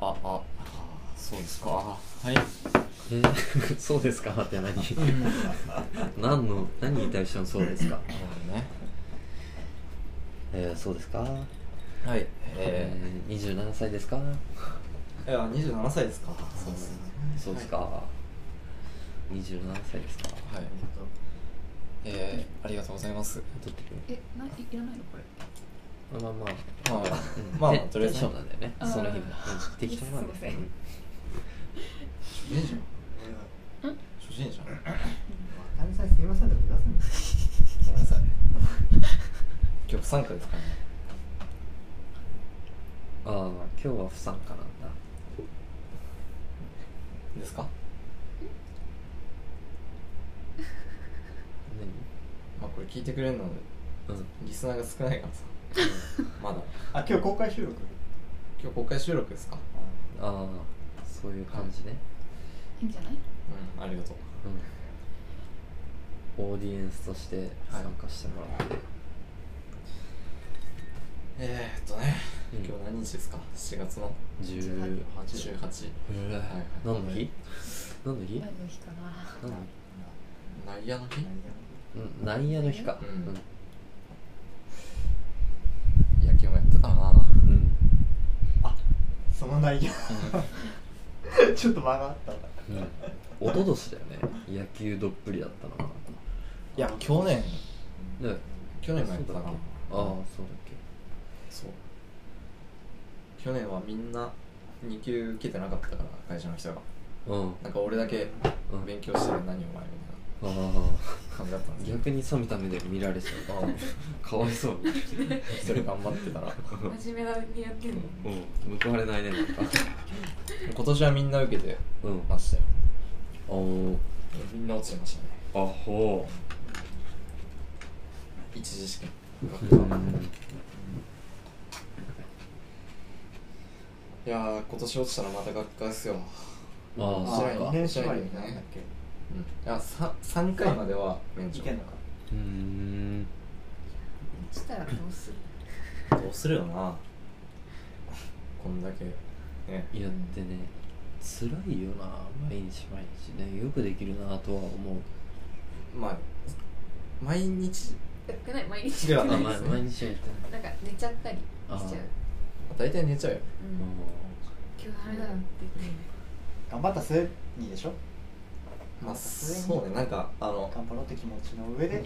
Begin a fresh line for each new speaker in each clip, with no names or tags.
ああそうですかはい
えー そうですかって何何の何に対してのそうですか
なるほどね
えー、そうですか
はい
え
え
ー、27歳ですか
ー、いや27歳ですかそうです
そうですか、27歳ですか
はいえー、ありがとうございます
撮ってる
え、ないいらないのこれ。
まあまあ
ま
まあ
あ
うん
まあ
ね
とりあえず
テンションなんだよね
あ
そ
ー
の日もうん適当なんです
すいません
うん
初心者初心者
かみさんすみませんでも出すんです
ごめんなさい今日参加ですかね
ああ今日は不参加なんだ
ですかまあこれ聞いてくれるので
何うん
リスナーが少ないからさまだ
あ今日公開収録
今日公開収録ですか
ああそういう感じね、
いいんじゃない？
うんありがとう
うんオーディエンスとして参加してもらって、
えー、っとね
うん
今日何日ですか7月の
10
18 18
うわ何の日何の日
ライブの日かな。
何の
内
日
野の日
うん内野の日か
う
うんん、
野球もやってたな
うん
その内容 ちょっと間があったわ
うん、一昨年だよね野球どっぷりだったのか
いや去年
なね
去年もやってたな
そうだっけああそうだっけ
そう去年はみんな2級受けてなかったから会社の人が
うん
なんか俺だけ
うん
勉強してる何お前みたい
ああ
な感じだったんですよ
逆に冷めた目で見られちゃうあかわいそう
一人頑張ってたら
真面目にやってんの。
うん報われないねなんか
今年はみんな受けて
うん
ましたよ
おお
みんな落ちてましたね
あほ
一次試験
ううん
いやー今年落ちたらまた学科ですよ
ああ
あ
そ
そう
っ
う
2
か
年縛りになんだっけ
うん、あさ3回までは免
い
除
けんのか
うーん
落ちたらどうする？
どうするよなこんだけね
いやってね辛いよな毎日毎日ねよくできるなとは思う
まあ毎日
やってない毎日
では
あ
な
ま
いですね
毎日やってない
なんか寝ちゃったりしちゃう
あ。
大体寝ちゃうよ
うん。今日ダメだなって
頑張った末にでしょ
まあそうねなんかあの
頑張ろうって気持ちの上で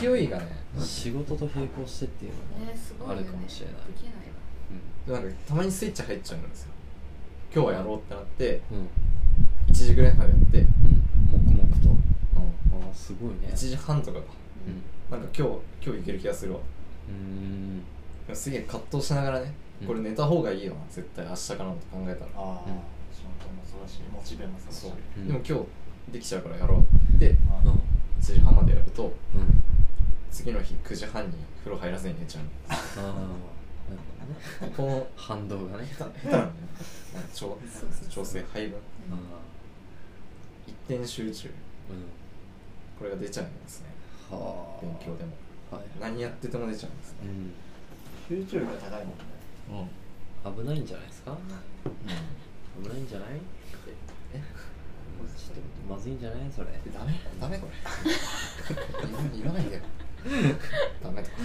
勢いがね
仕事と並行してっていうの
ねすご
も
い
あ
よね。
るかもしれない
できない
な
わ。
んかたまにスイッチ入っちゃうんですよ今日はやろうってなって
うんうん
1時ぐらいまでやって、
うん黙々とああすごいね
1時半とかか
うん
なんか今日今日いける気がするわ
うーん
でもすげえ葛藤しながらね
うん
これ寝た方がいいよな絶対明日かなと考えた
ああ
ら、
うん
仕事もそうだしモチベもそうだし
そう
うん
でも今日できちゃうからやろうで
あ
うん
1時半までやると
うん
次の日9時半に風呂入らずに寝ちゃう
ああなるほどね
のこの
反動がね
下手下手なんだよねなんか調
そうそうそう
調整配分
ああ
一点集中
うん
これが出ちゃうんですね
はあ
勉強でも
はい
何やってても出ちゃうんですね
う
集
ん
中力が高いもんね
危ないんじゃないですか危ないんじゃない
え
ちょっとまずいんじゃないそれ
えダメダメこれいらないでよダメとか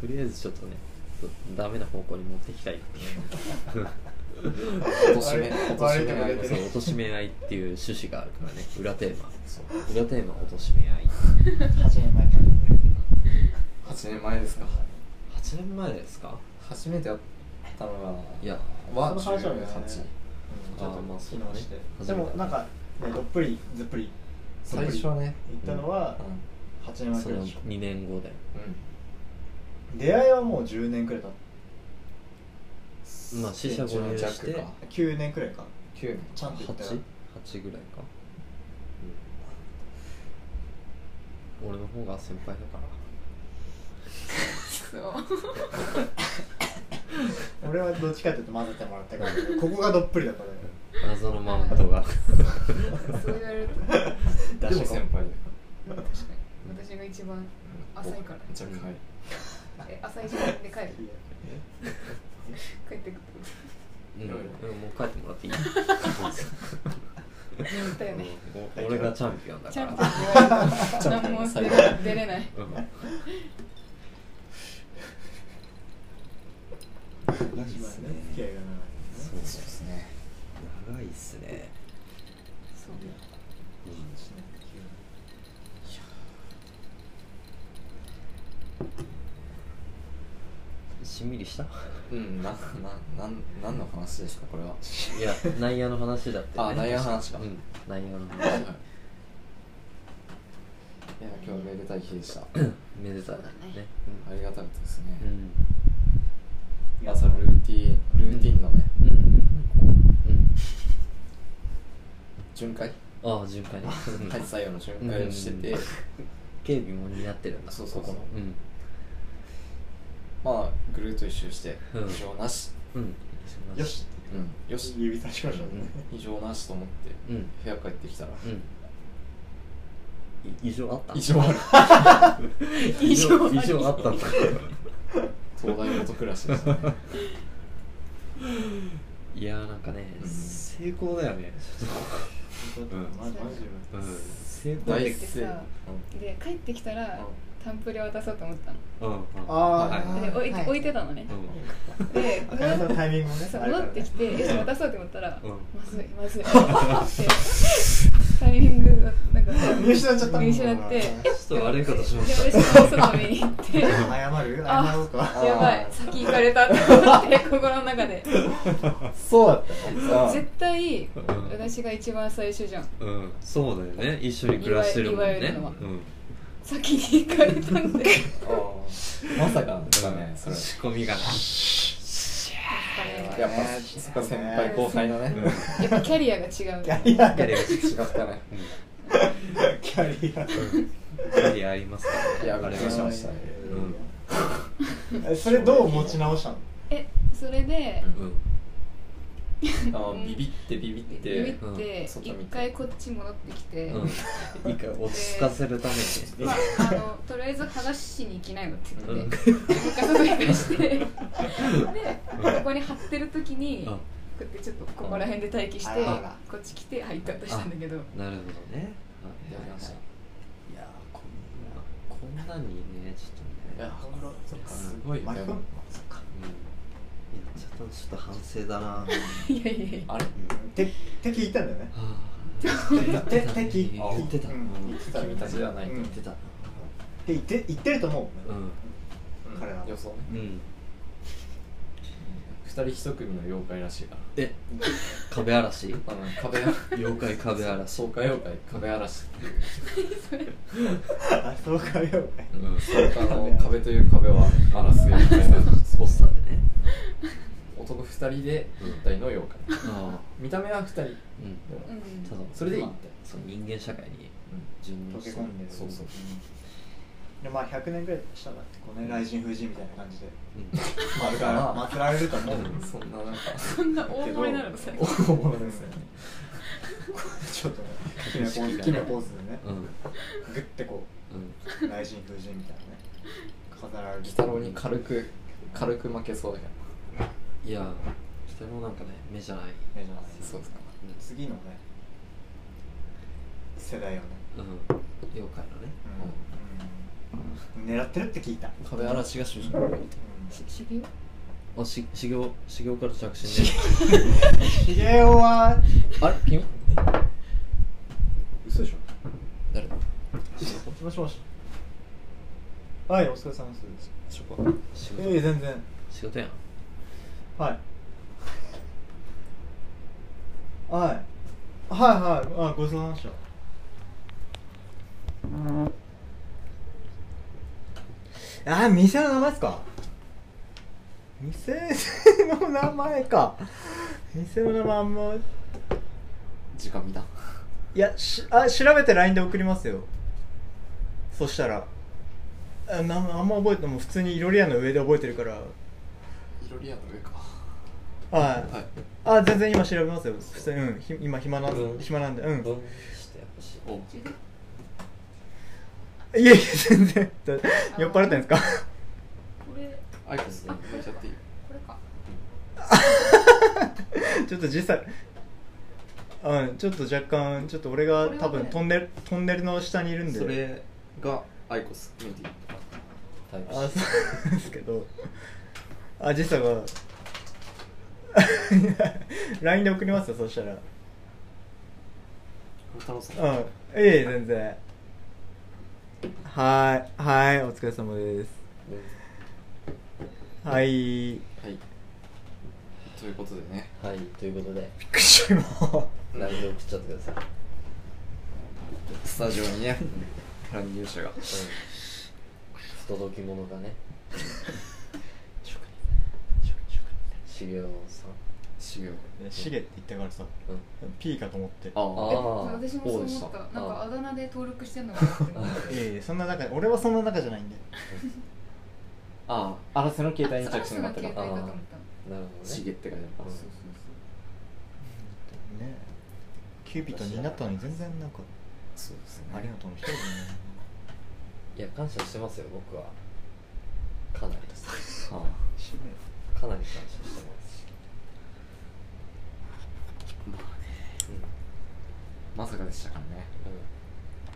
とりあえずちょっとねちょっとダメな方向に持っていきたいっていう
落としめ落とし
悪いとこ
め
出て
そ
る
う貶め合いっていう趣旨があるからね裏テーマ
そう
裏テーマ貶め合い
8年前から
8年前ですか
8年前ですか
初めてやったのが
いや
は
その話はね
18
あーまあそうだね
昨日して
初
で
めて
もなんかねどっぷりずっぷり
最初はね
行ったのは
う
8年前
そ
くらい
の
でしょ
2年後で
んうん
出会いはもう10年くらい経っ
まあ四捨五入して
10弱か
た9年くらいか
9年
ちゃんと行ったら
8? 8ぐらいか、うん、俺の方が先輩だから
そう。
俺はどっちかっていうと混ぜてもらったからここがどっぷりだからね
謎のマウントが
そう言われると確か
でも先輩だか
に私が一番浅いから
めちゃくちゃ
え朝一番で帰る帰ってくる
うん、
い
も
ろいうろ
帰ってもらっていい
言ったよね
お 俺がチャンピオンだ
チ
か
ャン
ら
ピオン言われて何も出れ出れない
うん長いっすね
付き合いが
そうですね長いっすね、
そうね
うんしんみりした
うんなななん何の話ですかこれは
いや内野の話だって、
あ内野の話か
うん内野の
はいい
話
や今日めでたい日でした
めでたいね
ありがたかったですね、
うん
朝ルーティンルーティンのね、
うんうん
巡回
ああ巡回ね
開
うん
発採用の巡回をしてて、
うん警備も担ってるんだ
そうそう
ここのうん
まあぐるっと一周して
うん
異常なし、
うん
よし
うん、よし、
指差しましたもんね
異常なしと思って
うんうん
部屋帰ってきたら
い異常あった
異常ある
異常異常あったんだ
東大元暮らしでしたね
いやーなんかね、
うん
成功だよねうん
マジマジ
うん成功
大
で
成功
で帰ってきたらタンプレ渡そうと思ったの
うんうん
あー
で置い,、
はい
置いてたのね
う
で
あかねさんのタイミングもね
そう戻ってきてよし渡そうと思ったら、
うん
まずいまずい ってタイミングがなんか
見失っちゃった
見失って
んちょっと悪いことしま
で
し
私
た
も外見に行ってや
謝 る謝ろうか
あ
ばい先行かれたって思っ て心の中で
そうだった
あ
絶対
ん
私が一番最初じゃん
うんそうだよね一緒に暮らしてるもん
言われ
ね
るのは
うん
先に行かれた んで
ーまさかだねそれ
仕込みがな
やっぱそっか先輩後輩のね
うん
やっぱキャリアが違う
キャリア
キャリ
違
アが
ったね
キャリア
キャリアありますからね
いや
あ
び
れ
っくりし
は
ましたね
うんそれどう持ち直したの
えそれで
うん
あービビってビビっ
ビビ
て
って
うん
一回こっち戻ってきて、
うん、いいか落ち着かせるために、
まあ、あのとりあえず話しに行きないのって
う
言っ
ん
て、一回外に出して でここに貼ってる時に、
うん
こうやってちょっとここら辺で待機して、
うんあら
こっち来て入ったとしたんだけど
なるほどね
やりました
いやーこんなこんなにねちょっとね
そっか
すごい
巻き込むそっか
うんやっちゃったのちょっと反省だな
いやいやいや
あれ
てて聞いたんだよね
て
てて聞い
言ってた
うん
うん
言ってた
君たちじゃないと
うん
言ってた
って言って言ってると思う、
うん
彼ら
予想ね
うん
二人一組の妖怪らしいか
え壁嵐
らあの 壁嵐
妖怪壁嵐
爽快妖怪壁嵐っていう
あそうかよ
うん
あの壁という壁は荒らす妖怪なんです
ポスターでね
男2人で1体の妖怪
ああ
見た目は2人でも
うん
うん
ただ
それでいい
まあそう人間社会に順応
溶け
す
込
る
んでる
そうそうん
でまあ100年ぐらいしたらってこの雷神風神みたいな感じで
うん
ま
祭ら
あ
祭られると思う、
うんそんななんか
そんな大物になるのさ
大物ですよね
ちょっとね好きなポーズ好きなポーズでね
うんうん
グッてこう雷神風神みたいなね飾られる
鬼太郎に軽く軽く負けそうだけど
いや人のなんかね目じゃない
目じゃない
そうですか
次のね世代をね、
うん妖怪のね
うん狙ってるって聞いた、うん
壁嵐が主人公
ししび
あし修行修行から着信ね
ヒゲオは
あれ君
嘘でしょ
誰だ
もしもしはいお疲れ様です
ショコ
仕
え
事
え全然
仕事やん
はいはいはいはいあごちそうさまでしたあ店の名前ですか店の名前か店の名前あんま
時間見た
いやしあ調べて LINE で送りますよそしたらあなあんま覚えてもう普通にいろり屋の上で覚えてるから
いろり屋の上か
はい
はい
あ全然今調べますよ普通に、うん、ひ今暇なんで、
うん
暇なんでうん
どんしてほしいお
いやいや全然酔っ払ってんですか
これ
アイコスに変えちゃっていい
これか
ちょっと実際うんちょっと若干ちょっと俺が多分トンネルトンネルの下にいるんで
それがアイコスメディ
タイプ
あそうですけどあ時差が LINE で送りますよそしたら
太郎さん
うんいえいえ全然はいはいお疲れ様ですはいび
はいということでね
はいということで
っくりした今
内容送っちゃってください
スタジオ にね乱入者が
不届き者が ね修行さん
修行
シゲって言ったからさ
うん
P かと思って
あ
あ
え
ー
私もそ
そ
う
うで
思
した
ったなんか
あ
あだ名で登録してんのかなって思って
いえいえそんな中俺はそんな中じゃないんで
ああ荒瀬の携帯に着
そ
信
う
があ
な
っ
ん
た
か
か
携帯
ら
だと思った
なる
「
ほど
し
ね
げ」って書いてある
そうそうそ
ねキューピッドになったのに全然なんか
そうですね
ありがとうの一人でね
いや感謝してますよ僕はかなり
ああ
かなり感謝してますし
まあね
うん
まさかでしたからね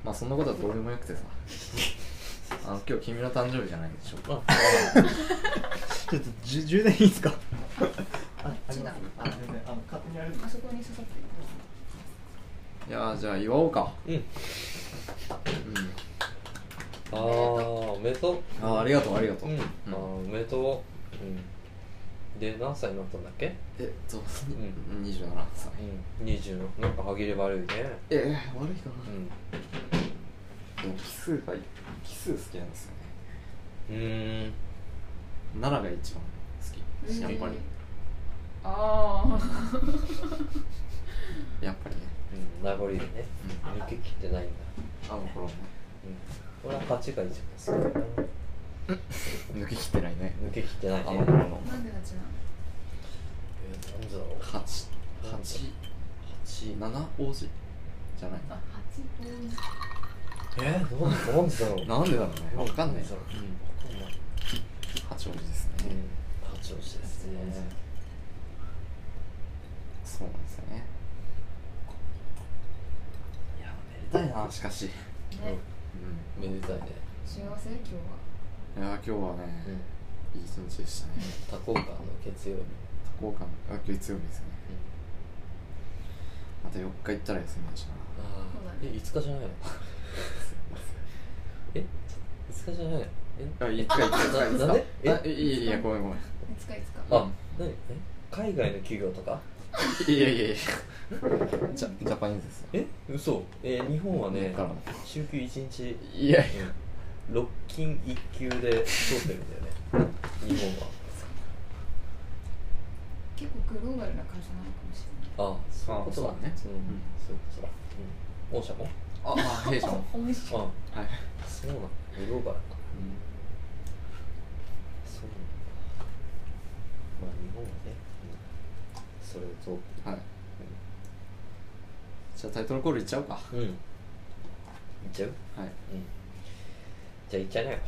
う
まあそんなことはどうでもよく てさあの今日君の誕生日じゃないでしょうか
んまあ
ちょっとじゅ充電いいですかあ
っちだ
あ全然あの勝手にやる
うあそこに刺さってる
いやーじゃあ祝おうか
うん
うん
あーおめでとう
あーありがとうありがとう、
うん、あ
うん
ーおめでとう、うん、で何歳になったんだっけ
えっと、
ん
27歳
うん20のなんか歯切れ悪いね
えー、悪いかな
うん
でも奇数が奇数好きなんですよね
うーん
7が一番好きやっぱり、
ああ
やっぱりね、
うん名残でね
うん、
抜け切ってないんだ、
あの頃ね
うん、俺は勝ちが一番好きだな
抜けきってないね
抜け切ってない
あ
ね
の頃の
なんでだっちなの
えーなんだろう
八八八七王子じゃない
あ八本
えー、どうなんでだろう
なんでだろうねわかんない
わかんない
八王子です
う
ね
ん八王子ですね
そうなんですよねいやめでたいなしかし
ね
う
めでたいね、
幸せ今日は
んいや今日はね
うん、
いい一日でしたね
多幸感の月曜日
多幸感あ月曜日ですねまた4日行ったら休みだしな
あ
そう
あ
だね
え5日じゃないの え5日じゃないの
あ、いつかいつかいつかいつ
ななんで
かあいいいいやごめんごめん
いつかいつか
えあ何え海外の企業とか
いやいやいやジャジャパニーズですよ
え嘘えー日本は
だ
ね
から
週休1日
いやいや
うん6勤1休 で通ってるんだよね日本は
結構グローバルな会社なのかもしれない
ああそういうことだね
あそううんだねうん
そういうことだうん御社も
ああ弊社も
おいしい
あ
はい
あそうなのグローバルかそうなんだまあ日本はね、うん、それで通ってる
はいじゃあタイトルコールいっちゃおうか
うん。いっちゃう
はい
うん。じゃあいっちゃいなよ。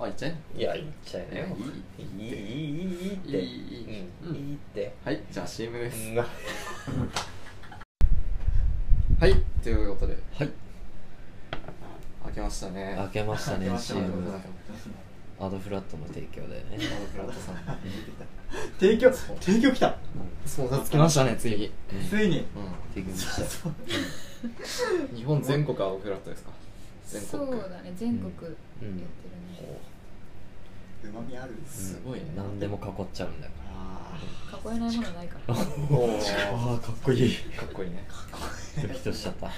あいっちゃえ
いや、いっちゃいなよ。
い
いい、いい、いいって。
いいいい
うん、いいって。
はいじゃあ CM です
うん
はいということで
はい。
開けましたね
開けましたね、
ありがとう
CM
ございます。
アドフラットの提供でね。
あのフラットさん
提供提供来た
そうだつきましたねついに
ついに
う
提供した。
ん日本全国アオフラットですか全
そ
国
うだね全国やっ
う
てるね、
うん
うまみある
すごいね
何でも囲っちゃうんだよ。
あ
囲えないものないから
お ー
あかっこいい
かっこいいね
ドキドキしち ゃった。
そ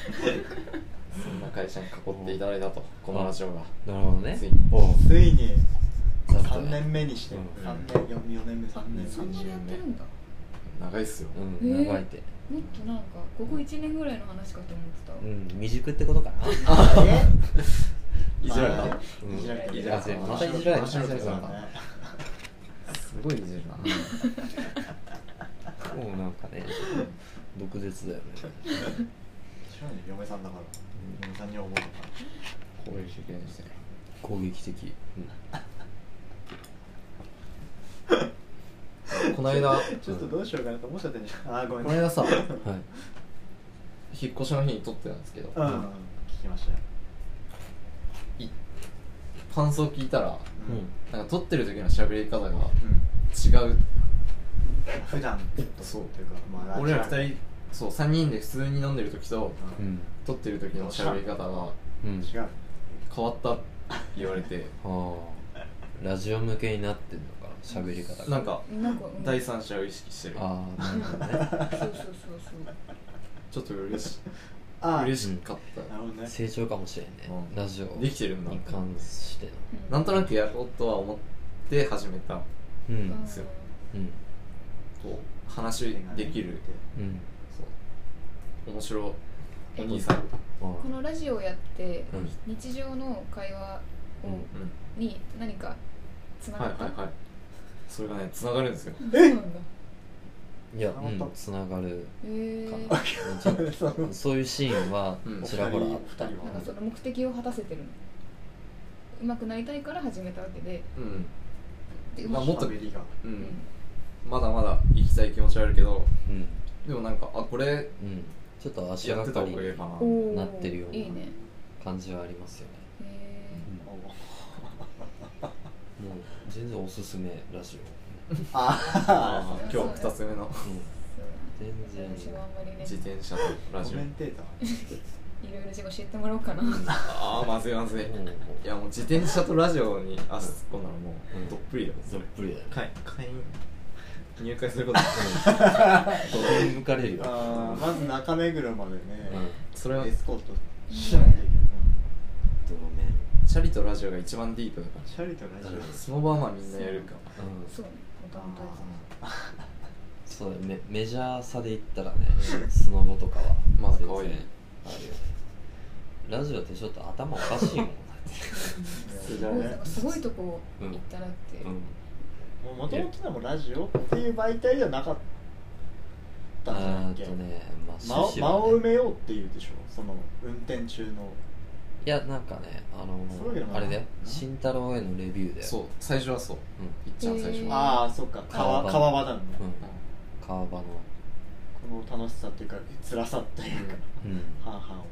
んな会社に囲っていただいたとこのラジオが
なるほどね
つい。に
お
ついに
ざっと
3
ね
年目にして
うん
3年四4年目3
あ
年目
そんなにやってるんだ
長いっすよ
うん、長いって。
もっとなんかここ1年ぐらいの話かと思ってた、
うん、未熟ってことかな。
あれ
いじられた
うん
いじられた
いじられたまたいじ
られた
面白かったね
すごいいじるな
もうなんかね、毒舌 だよね。
白いね嫁さんだから嫁さんには思うから
こういう経験して
攻撃的。うん
この間
ちょっと
どうしようかなと思っちゃってんじゃん。
あーご
こ
めん
の
ね
間さ
はい
引っ越しの日に撮ってたんですけど
うん
聞きましたよ。
感想聞いたら
う
うんん
なんか撮ってる時の喋り方が
うん。
違う
普段と
そう
というか、まあ、
俺ら
ラ
二人そう3人で普通に飲んでる時と
う
うん
撮ってる時の喋り方が
うん
ジオ違う。
変わったって言われて
ああラジオ向けになってんのかな喋り方が
なんか
なんか、うん、
第
そ
三
う
者を意識してる
ああなるほどね
そうそうそう
ちょっと嬉し
ああ、なる
嬉しかった
ほど ね。
成長かもしれんね、
うん
ラジオ
できてるんだ
に関しての
うん
なんとなくやろうとは思って始めた
うん
うん
ですよ
うん
こう話できる
うん
そう面白いお兄さん
あ
このラジオやって
あうん
日常の会話を、
う
に何かつなん
は
が
い
った、
はいはいそれがねつながるんですよ
そうなんだ
いや、う
本当
ん、つながる
へえ
か
ー、
な
な、
そ
ちょっとそういうシーンは
うん
ちらほら、
二人は
んかその目的を果たせてるのうまくなりたいから始めたわけで
うん
で
まあもっと
ベリーが。
う
うん
んまだまだ行きたい気持ちはあるけど
うん
でもなんかあこれ
うん、ちょっと足
や
が
って
か
た
り
方がいいかな
おー
なってるようない
いね
感じはありますよね、
へえ
もう全然おすすめラジオ、
あー
そう
今日2つ目の
うん、全然
私はあんまりね
自転車とラ
コ
ジオ
メンテーター。
いろいろ教えてもらおうかな
ああまずいまずい
もう
いやもう自転車とラジオに足突っ込んだらも
うん
うどっぷりだよそ
どっ
れ
ぷりだよね
会会員 入会することになる
どこに向かれるよ、
ああ、まず中目黒までね、
う
それは
エスコートしないといけない。
ん、ドロメン
チャリとラジオが一番ディープだか
シャリとラジ
らその場はまあみんなやるか
うん
そうね本当本
そうだよメメジャーさで言ったらねスノボとかは
まあ
全
可
然あ
愛
る
い
よねラジオってちょっと頭おかしいもんだって、
オ。
だ
当
よ
に
ね
なんかすごいとこ行ったらって、
うん、
もともとでもラジオっていう媒体じゃなかったんじゃない
あ
っけ
ーとねまあ
間を
趣旨
間を
は
埋
ね
めようっていうでしょその運転中の
いやなんかねあの
そういうわけでもな
あ
い
れだよ慎太郎へのレビューだよ
そう最初はそう
う
いっちゃん最初
へー
は
ああそっか
川
川
場
川場だもんね
ん、うん、川場の
この楽しさっていうか辛さっていうか
うん
半々を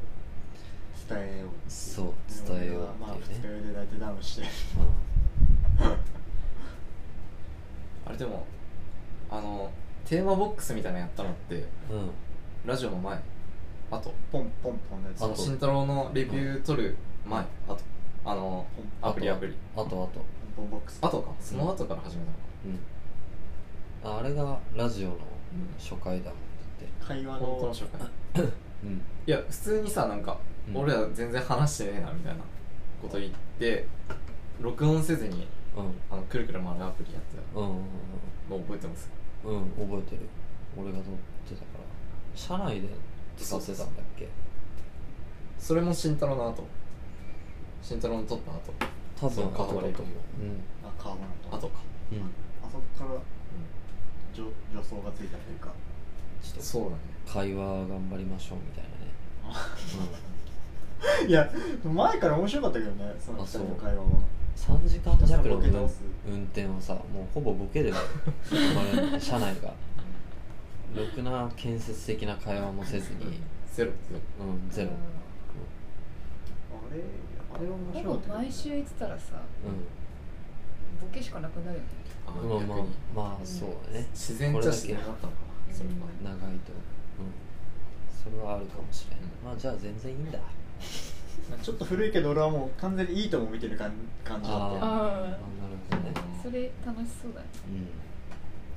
伝えようってい
そう伝えよう
まあ
っ
二
ていう
日
ね、
酔いで大体ダウンして
あれでもあのテーマボックスみたいなのやったのって
うん、うん、
ラジオの前あと
ポンポンポンのやつ
あの
後
慎太郎のレビュー取る前あとあの
ポン
アプリアプリ
あとあと
ポンポンボックス
あとかその後から始めたのか
うんああれがラジオの初回だもんだって
会話
本当の
の
紹介
うん
いや普通にさなんか、
うん
俺ら全然話してねえなみたいなこと言って録音せずに
うん
あのくるくる回るアプリやって
うんうん
たの覚えてます
うんうん覚えてる俺が撮ってたから社内で使ってたんだっけ
それも慎太郎の後慎太郎の撮った後
多分
そう
後だと思う
後だと思
うん
あ川場の
後
あ
か
うん
そこから助助走がついたというか
ちょっ
そうだね
と会話頑張りましょうみたい なね
いや前から面白かったけどねその二人の会話は
うん3時間弱の
ボケ倒す
運運転をさもうほぼボケで我々社内が ろくな建設的な会話もせずに
ゼロゼロ
うんゼロ
あれあれは面
ほ
白か
ぼ
ったけど
毎週行ってたら
う
さボケしかなくなるよね
あ
んまあ
逆
ま
に
あまあそうだね
自然っちゃ自然だったのかなそれは
うん
長いとうんそれはあるかもしれん
うん
まあじゃあ全然いいんだ
ちょっと古いけど俺はもう完全にいいとも見てる感感じだっ
あ
たよ
あ
あ
なるほどね
あそれ楽しそうだね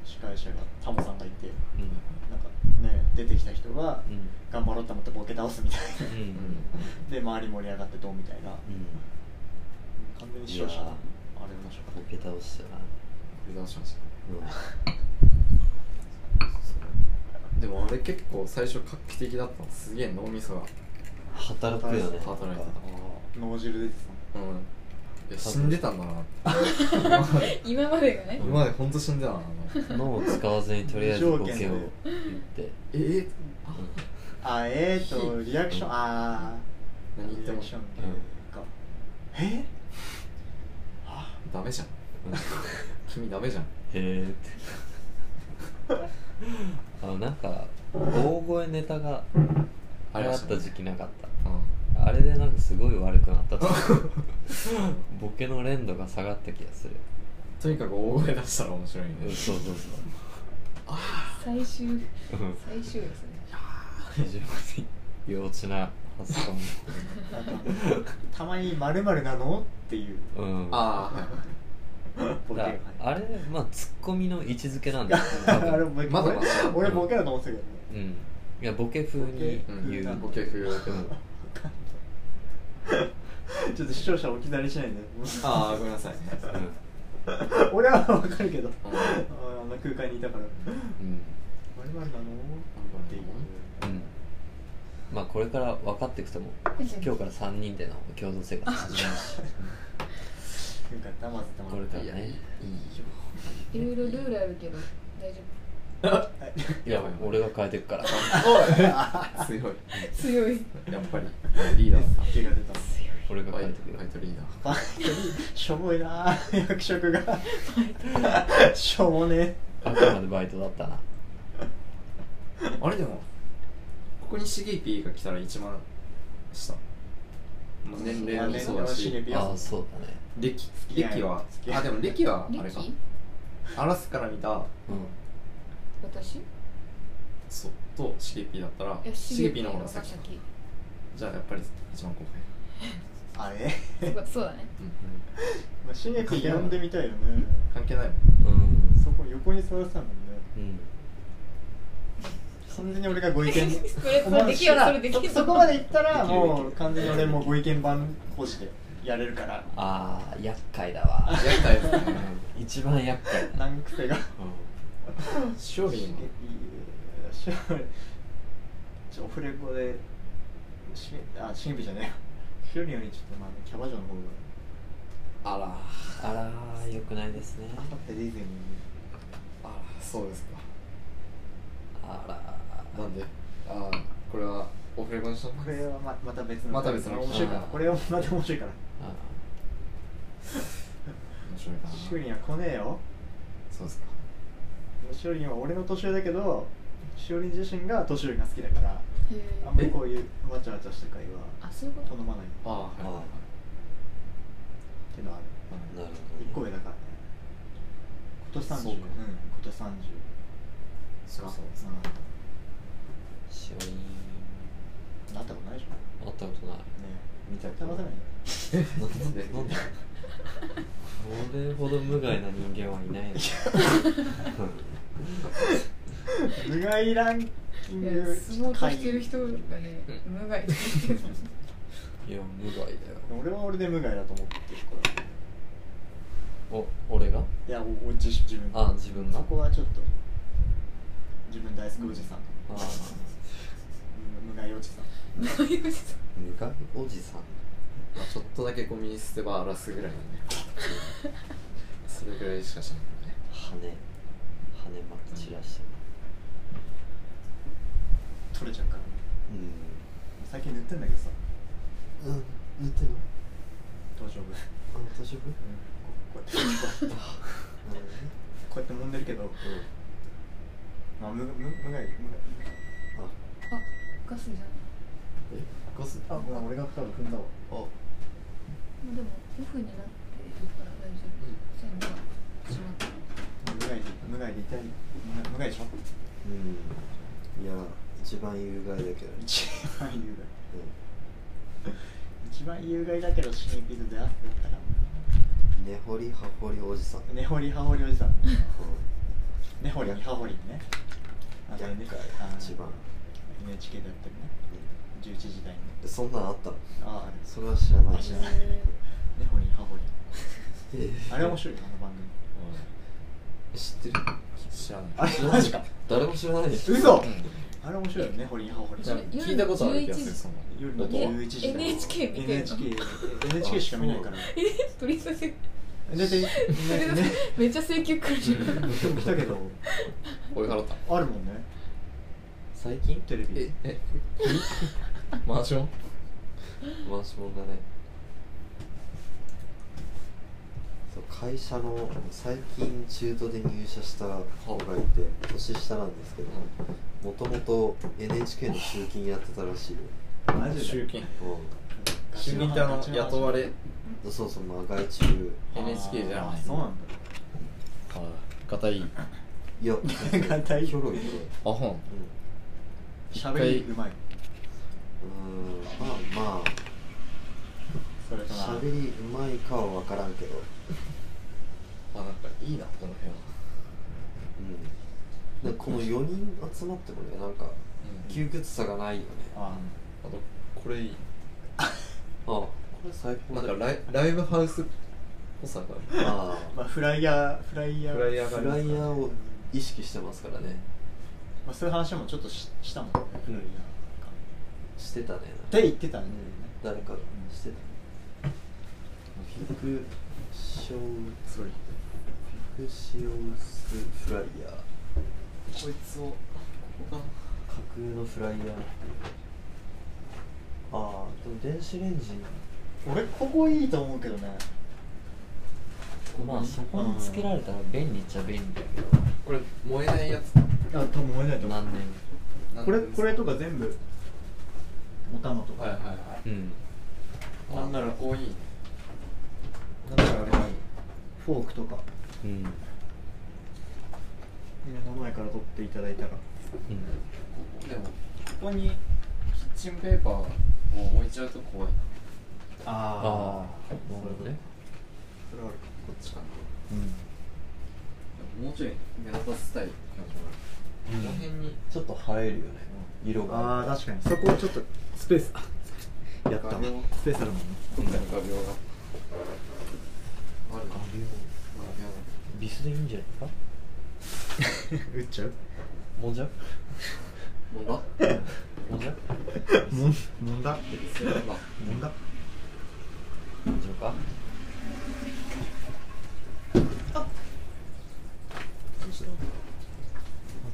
う
司会者がタモさんがいて
んうん
なんかね出てきた人が
うん
頑張ろうと思ってボケ倒すみたい
うんうん
なで周り盛り上がってどうみたいな
うん
完全に視聴者
いやー
あれ面白か
ボケ倒したな
振り直しました
う
でも俺結構最初画期的だったのすげえ脳みそが
ん働くよね
働いてた
った脳汁出て
うんいや死んでたんだな
今までがね
今までほんと死んでたなあの
脳を使わずにとりあえずボケを言って
えー、
たあえーとリアクションあー
何言って
リア
も
クションっていうかえ
ダメじゃん
うんうんへ
君ダメじゃん
えっあのなんか大声ネタがあれあった時期なかったあれでなんかすごい悪くなったと思うボケの連度が下がった気がする
とにかく大声出したら面白いね
うんそうそうそう
最終
うん
最終ですね
非常に幼稚な発想
たまに「まるなの?」っていう
うん
ああはいはい
ボケが
だ
入る
あれまあツッコミの位置づけなんだよ多分
あれボケ
まだまだ
俺ボケだと思ってたけどね
うんいやボケ風に言う、
う
うん
んボケ風
うん
ちょっと視聴者置き去りしないんで
ああごめんなさい
俺はわかるけど
う
あ
ん
ーあんな空間にいたから「
うん
まるなの?」っていう
うんまあこれから分かっていくと思う今日から3人での共同生活始まるし
なんかたまってたま
これ
って
から
いやいい
ね
よ
いろいろルールあるけど大丈
いや俺が変えていくから
おい強い
夫強い
やっぱりリーダーさん
手が出た
俺が
ファ
変え
イ
ていくよ
トリーダー
バイトにしょぼいな役職 がしょぼね
あくまでバイトだったな
あれでもここにシゲピーが来たら一番下、まあ、年齢もそうだし
まあ年齢もシゲピいや
ああそうだね
歴
き合い
歴は
付き合い
あでも歴はあれか
力
アラスから見た
う
私い
そっとシゲピーだったら
や
シ
シ
ゲ
ゲ
ピ
ピ
ー
ー
の
の
方
方
が
が
先か
先
じゃあやっぱり一番後輩
あれ
そうそうだね
まあ新薬呼んでみたいよね
関係ないもん
んうん
そこ横に座らせたもんね
うん
完全に俺がご意見
それそれできる
お前
それできる
そそこまでいったら
できる
もう完全に俺もうご意見番講師でやれるから
ああ厄介だわ
やりたいですね
うん一番厄介だ
難癖が
塩瓶も
しげちょオフレコでしげあしげびじゃねえよひろりよりちょっとまあキャバ嬢の方が
あら
あらよくないですね
頑張ってディズニーに
あらそうですか
あら
なんでああこれはオフレコにしとく
これはままた別の
また別の
面白いから
あー
これはまた面白いから
あ
面白いかな
しゅうりんは来ねえよ
そうですか
しゅうりんは俺の年上だけどしゅうりん自身が年上が好きだから
へ
あ
え
んまりこういうわちゃわちゃした会は
あそういうこと
好まないっ
ああはいはいはい
ていうのはある
なる
一個
ほど
上
ね
だからね今年30
そう
うん
か
今年30
そうそう
そうん
しおりん
なったことないでしょね
会ったことない
見たことな
騙せ
い
ないよ
なんでなんでこれほど無害な人間はいないよ
無害ランキン
いや
グ
相撲としてる人がね無害としてる
いや無害だよ
俺は俺で無害だと思ってるから
お俺が
いやおお自自分
あ自分が
そこはちょっと自分大好きおじさん、
ああ
うん無害おじさん
無害をして
無害おじさん
まあ、ちょっとだけゴミ捨て場荒らすぐ らいなんでそれぐらいしかしないからね
羽羽まき散らしてる
取れちゃうからね
う
最近塗ってんだけどさ
んうん塗ってんの
頭頂部、うん、
あ大丈夫
ここうやってこうやってこうやって揉んでるけど、まあ、無無無害無害
あガスじゃない
えガス
あ、まあ、俺が多分踏んだわ
あ
まあでもオフになってるから大丈夫全部は閉まってる
無害で無害で痛い無無害でしょ
うんいや一番有害だけど
一番有害一番有害だけどシンピズであってやったか
根掘り葉掘りおじさん
ら根掘り葉掘りおじさん根掘りに葉掘りにねあのねあの NHK でやってるね11時台に
そんなんあったの
ああある
それは知らない
あ知らない根掘り葉掘り
え
あれ面白いよあの番組
知ってる
知らない
あれマジか
誰も知らないでしょ
嘘あれ面白いよね掘り葉掘り
なんか聞いたことある気がするその
夜の11時だよ
NHK 見てんの
NHK, NHK しか見ないから
え取り寄せ
全然ねね
めっちゃ請求来るじゃん
今日来たけど
追い払った
あるもんね
最近
テレビ
ええマンション
回しもんだねと会社の最近中途で入社した子がいて年下なんですけどもともと NHK の集金やってたらしいよ、
マジで
集金
う
集金ってあの雇われ
ん、そうそうまあ外注
NHK じゃ
あ
ない
ーそうなんだ
がたいい
いや
硬い
ひょろいね
あほん
うん
喋りうまいう
ーんまあま
それ
あ
とな
喋りうまいかは分からんけど
あなんかいいなこの部屋
うんでこの4人集まってもねなんか窮屈さがないよねあ
あ
あとこれいい
これ最高
な
だ
んかライライブハウスっぽさがある
あ
ーまあフライヤーフライヤー
フライヤ
あ
ーがあ
フ
りま
ラ
すか
イヤ
ら
ーを意識してますからね
まあ、そういう話もちょっとししたもんねフライヤーか
してたね
って言ってたね、
誰かがしてたフィクション
すごい
フィクションスフライヤー
こいつを
架空のフライヤーああでも電子レンジ
俺ここいいと思うけどね
まあそこにつけられたら便利っちゃ便利だけど
これ燃えないやつ
あ多分思えないと思う
何年
なん
これこれ
は
とか全部お玉と
い
か、
はいは
うん
い
なんなら
こういい
なんだろうあれがいいフォークとか
うん、
目の前から取っていただいたら
でもここにキッチンペーパーを置いちゃうと怖い
ああ
ー
なるほどね
それはあるか
こっちか
う
な
ん
もうちょい目立たせたい感じもあるこの辺に
ちょっと映えるよね色が
あー確かにそこをちょっとスペースあやったわスペースあるもんね
どっかに画鋲があるか
ビスでいいんじゃないですか
打っちゃう
もんじゃ
画鋲
も
も
んじゃ
もんもんだ
がまあ
もんだ
もんじゃか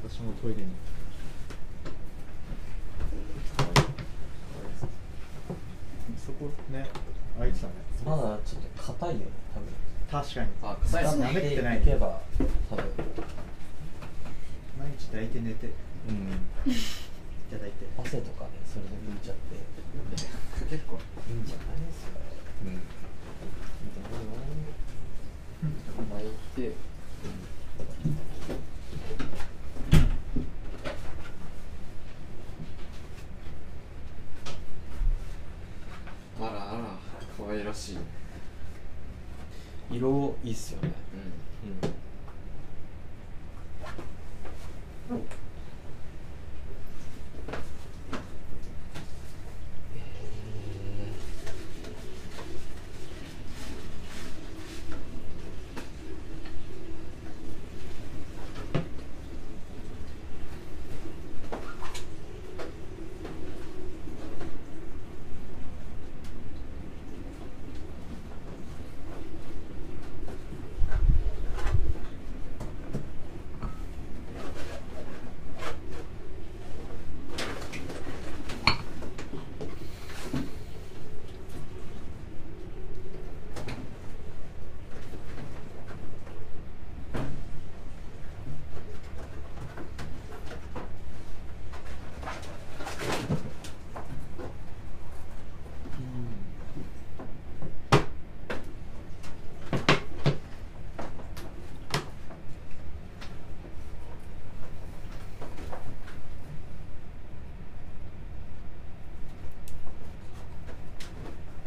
私もトイレにそこね開いてたね
まだちょっと硬いよね
確かに
あ臭い
あ
し
舐
多分
めてない
いけば多分
毎日抱いて寝てい
うん
ただいて
汗とかねそれで拭いちゃって
結構
いいんじゃないですかうん
巻いてあらあら可愛らしい
色いいっすよね
う
うん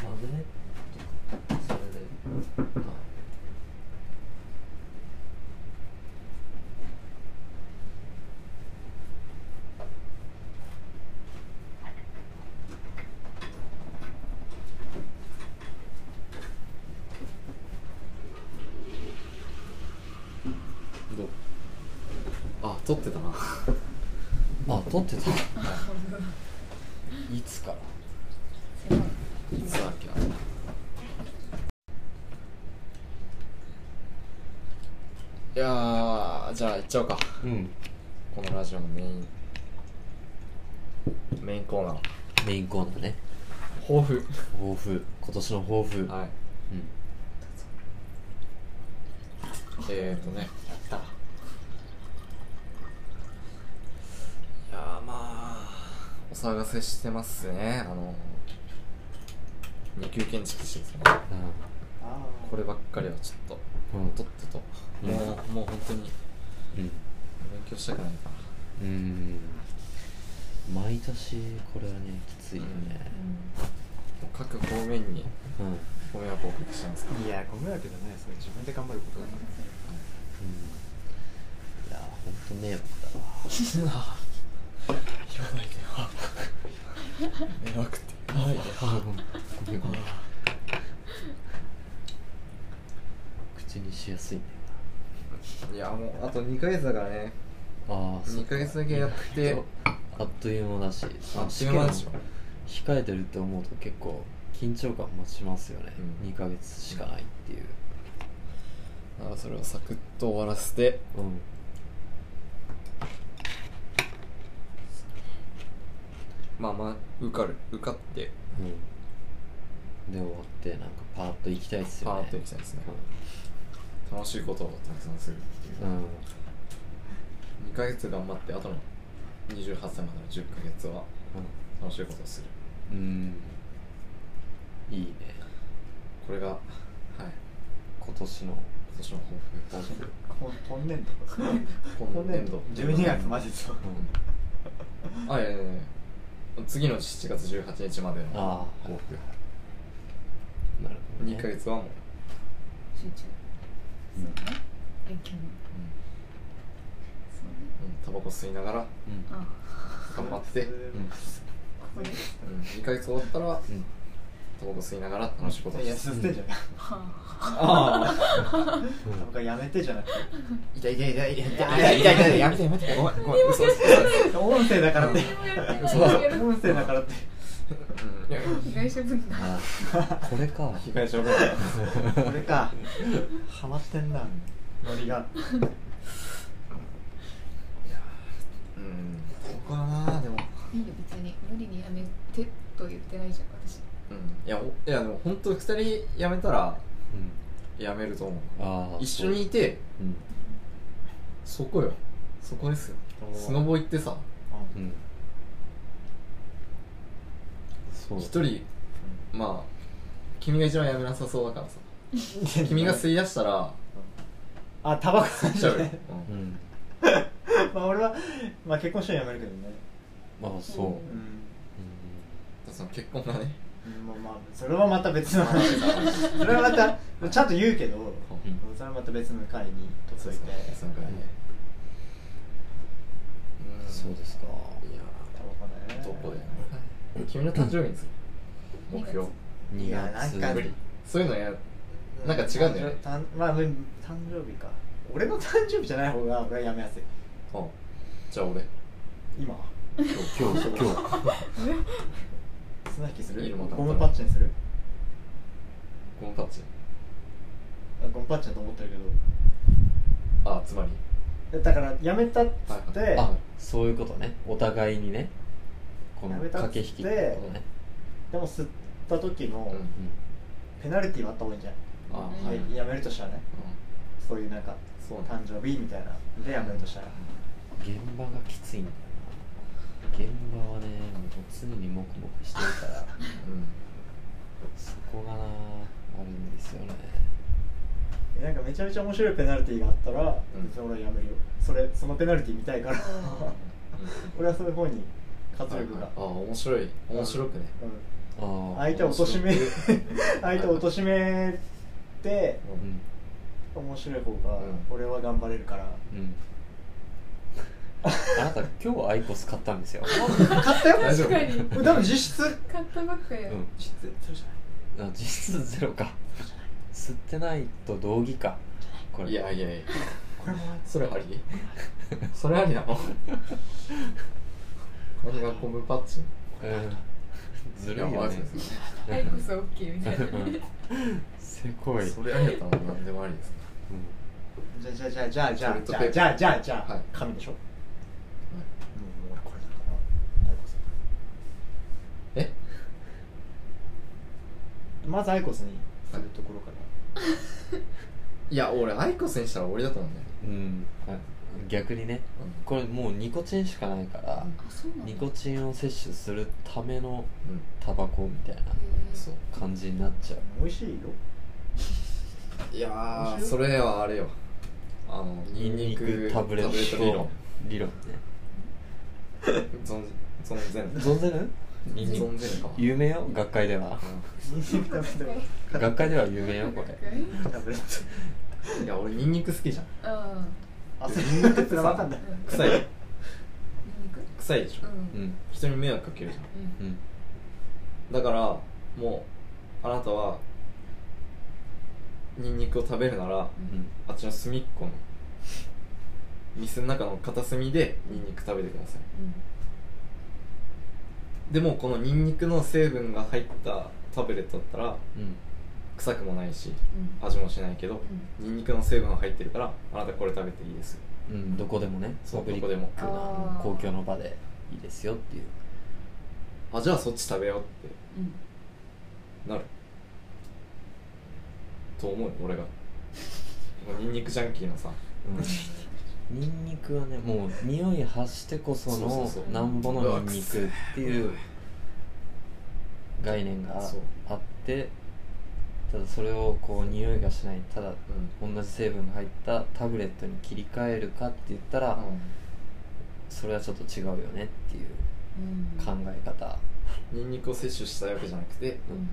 マグネットとかそれでまあ
んどうあ撮ってたな
あ、撮ってた。いつから。
いつだっけなじゃあじゃあ行っちゃおうか
うん。
このラジオのメインメインコーナー
メインコーナーね。
抱負
抱負。今年の抱負。
は
う
い
ん。
えー、とね
やった
いやーまあお騒がせしてますねあの二級建築士ですね
あ
こればっかりはちょっ
う
ととっとと、
うん
もうもう本当に
ん
勉強したくないか
うん、うん、毎年これはねきついよね
ら各方面に
うん、うん
ご迷惑をおかけしてますから
いやご迷惑じゃないですね自分で頑張ることだね
いやーほんと迷惑だわ
言わないでよ迷惑って言わないでよ
あごめんごめんごめん口にしやすいん
いやもうあと2ヶ月だからね
だよなああ
2ヶ月だけやって
あっという間だし
あ試
試験
験
を
でしょ
控えてるって思うと結構緊張感持ちますよね、
うん
二2ヶ月しかないっていう
だからそれをサクッと終わらせて
うん
まあまあ受かる受かって
うんで終わってなんかパーッと行きたいっすよ
パ
ね
ーッと行きたいですね楽しいことをたくさんするっていう
うん、うん
2ヶ月頑張ってあとの28歳までの10ヶ月は楽しいことをする
うん、いいね
これがはい
今年の
今年の抱負
こう今年度
今年度
12月マジそう
あいやいやいや次の7月18日までの
ああ
抱負
なるほど、ね、
2ヶ月はもう
集中そうね勉強にそうね
うんタバコ吸いながら
うん
あ
頑張って、
うん
ここで
うん、2ヶ月終わったら
うん
タバコ吸いながら楽しいことを
い
す
や
る
吸ってんじゃない
は
ああ
なんかやめてじゃなくて
痛い痛い痛い痛い痛い痛い痛いやめてやめてごめんごめん嘘嘘嘘
音声だからって
あやって
そう
ないやる
音声だからって
うんいや
被害者分だ
ああこれか
被害者の方
これかハマってんなノリが
うんここだなでも
いいよ別に無理にやめてと言ってないじゃん私
うんいやおいやでも本当二人辞めたら
うん
辞めると思う
ああ
一緒にいて
うん
そこよそこですよスノボ行ってさ
うんそう
一人まあ君が一番辞めなさそうだからさ君が吸い出したら
あタバコ吸っ
し
ち
ち
ゃ
ゃう
う
よ
ね
うん
まあ俺はまあ結婚してやめるけどね
ああそう、うん
うんその結婚がね
うんまあまあそれはまた別の話だそれはまたちゃんと言うけど
うん
それはまた別の回にとっ
そ
と
う
い
で
て
すねそのぐらいねうん
そうですか
いや
タバコね
どこで君の誕生日にする目標
2月
いやなんか
無理そういうのやなんか違うんだよね
誕生まあうん誕生日か俺の誕生日じゃない方が俺はやめやすい
あじゃあ俺
今は
今日今日
綱引きす
いい
る
のまた
ゴムパッチンする
ゴムパッチ
あゴムパッチンだと思ってるけど
あつまり
えだからやめたっつって、
はい
あそういうことねお互いにねこの
やめたっつ
駆
って
け引きってことね
でも吸った時の
うん
ペナルティーはあった方がいいんじゃ
あ
うん
は
ないい、ややめるとしたらね
う
そういうなんか
んそうね
誕生日みたいなでやめるとしたら
現場がきついんだよな現場はねもう常にモクモクしてるから
うん
そこがなあるんですよね
えなんかめちゃめちゃ面白いペナルティーがあったら、
うん
別に俺はやめるよそれそのペナルティー見たいから
あ
俺はそういう方に活力が、
あ面白い面白くね
う
あ
ん、
あ
相手を貶としめ
面
相手を貶としめて
う
うん
面白い方が
うん
俺は頑張れるから、
うん あなた今日アイコス買ったんですよ、
買った よ
大丈夫
確かに
でも実質
買ったばっかや
うん、あ実質ゼロか吸ってないと同義かこれ
いやいやいや
これも
それあり それあ りなの何がゴムパッチン
うんずるい
や
よ
マジ
ね
ですね
はいこそ OK みたいなね
せこい、うん
それありだったらもう何でもありですね
じゃあじゃあじゃあじゃあ
ト
じゃあじ
イレッ
ゃあ
ト
じゃあじゃあじゃあ、
はい
紙でしょ、うん、もう俺これだからアイコス
え
まずアイコスにするところから
いや俺アイコスにしたら俺だと思うんだよね
うんあ逆にね
うん
これもうニコチンしかないから
あそうなんだ
ニコチンを摂取するための
うん
タバコみたいな
へー
そう
感じになっちゃう
美味しいよ
いやーそれはあれよあのニ
ニ
ン
ン
ニ
ニ
ク
ク
タ
タ
ブ
ブ
レ
レ
ッ
ッ
ト
ト
理論
理論ね
存存ぜぬ
存ぜるニンニ
存
ク
ぜぬかも
有名よ学会では学会では有名よこれ
タブレット
いや俺ニンニク好きじゃん
あ
あそれってつらわかんな
あ
い
う
臭い
んニンニク
臭いでしょ
うん
う
うん
ん
人に迷惑かけるじゃん
うん
だからもうあなたはニンニクを食べるなら
うん
あっちの隅っこの店の中の片隅でニンニク食べてください
うん
でもこのニンニクの成分が入ったタブレットだったら
うん
臭くもないし
うん
味もしないけどニンニクの成分が入ってるからあなたこれ食べていいですよ
うんどこでもね
そう
パブリッ
ど
ク
こでも
な
あー
公共の場でいいですよっていう
あじゃあそっち食べようって
うん
なると思うよ俺が もうニンニクジャンキーのさ
うんニンニクはねもう匂い発してこそ
そうそう
の
そう
なんぼのニンニクっていう概念が
そう
あってただそれをこう匂いがしないただ同じ成分が入ったタブレットに切り替えるかって言ったら、それはちょっと違うよねっていう
うん
考え方、
うんニンニクを摂取したいわけじゃなくて
うん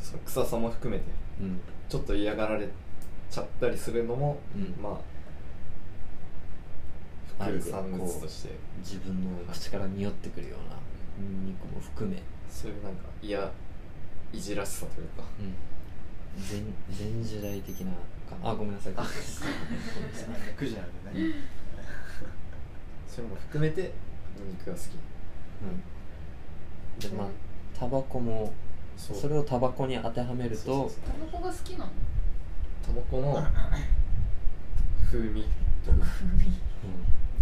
その臭さも含めて
うん
ちょっと嫌がられちゃったりするのも、
うん
まあ
あ
副
る
産物として
自分の口から匂ってくるようなニンニクも含め、
そういうなんか嫌いじらしさというか
うん、全全時代的なかなあごめんなさい
9時なんでね
そういうのも含めてニンニクが好き
うん、でまあタバコも
そ
それをタバコに当てはめる
そうそう
と
そう
タバコが好きなの
タバコの風味とか
うん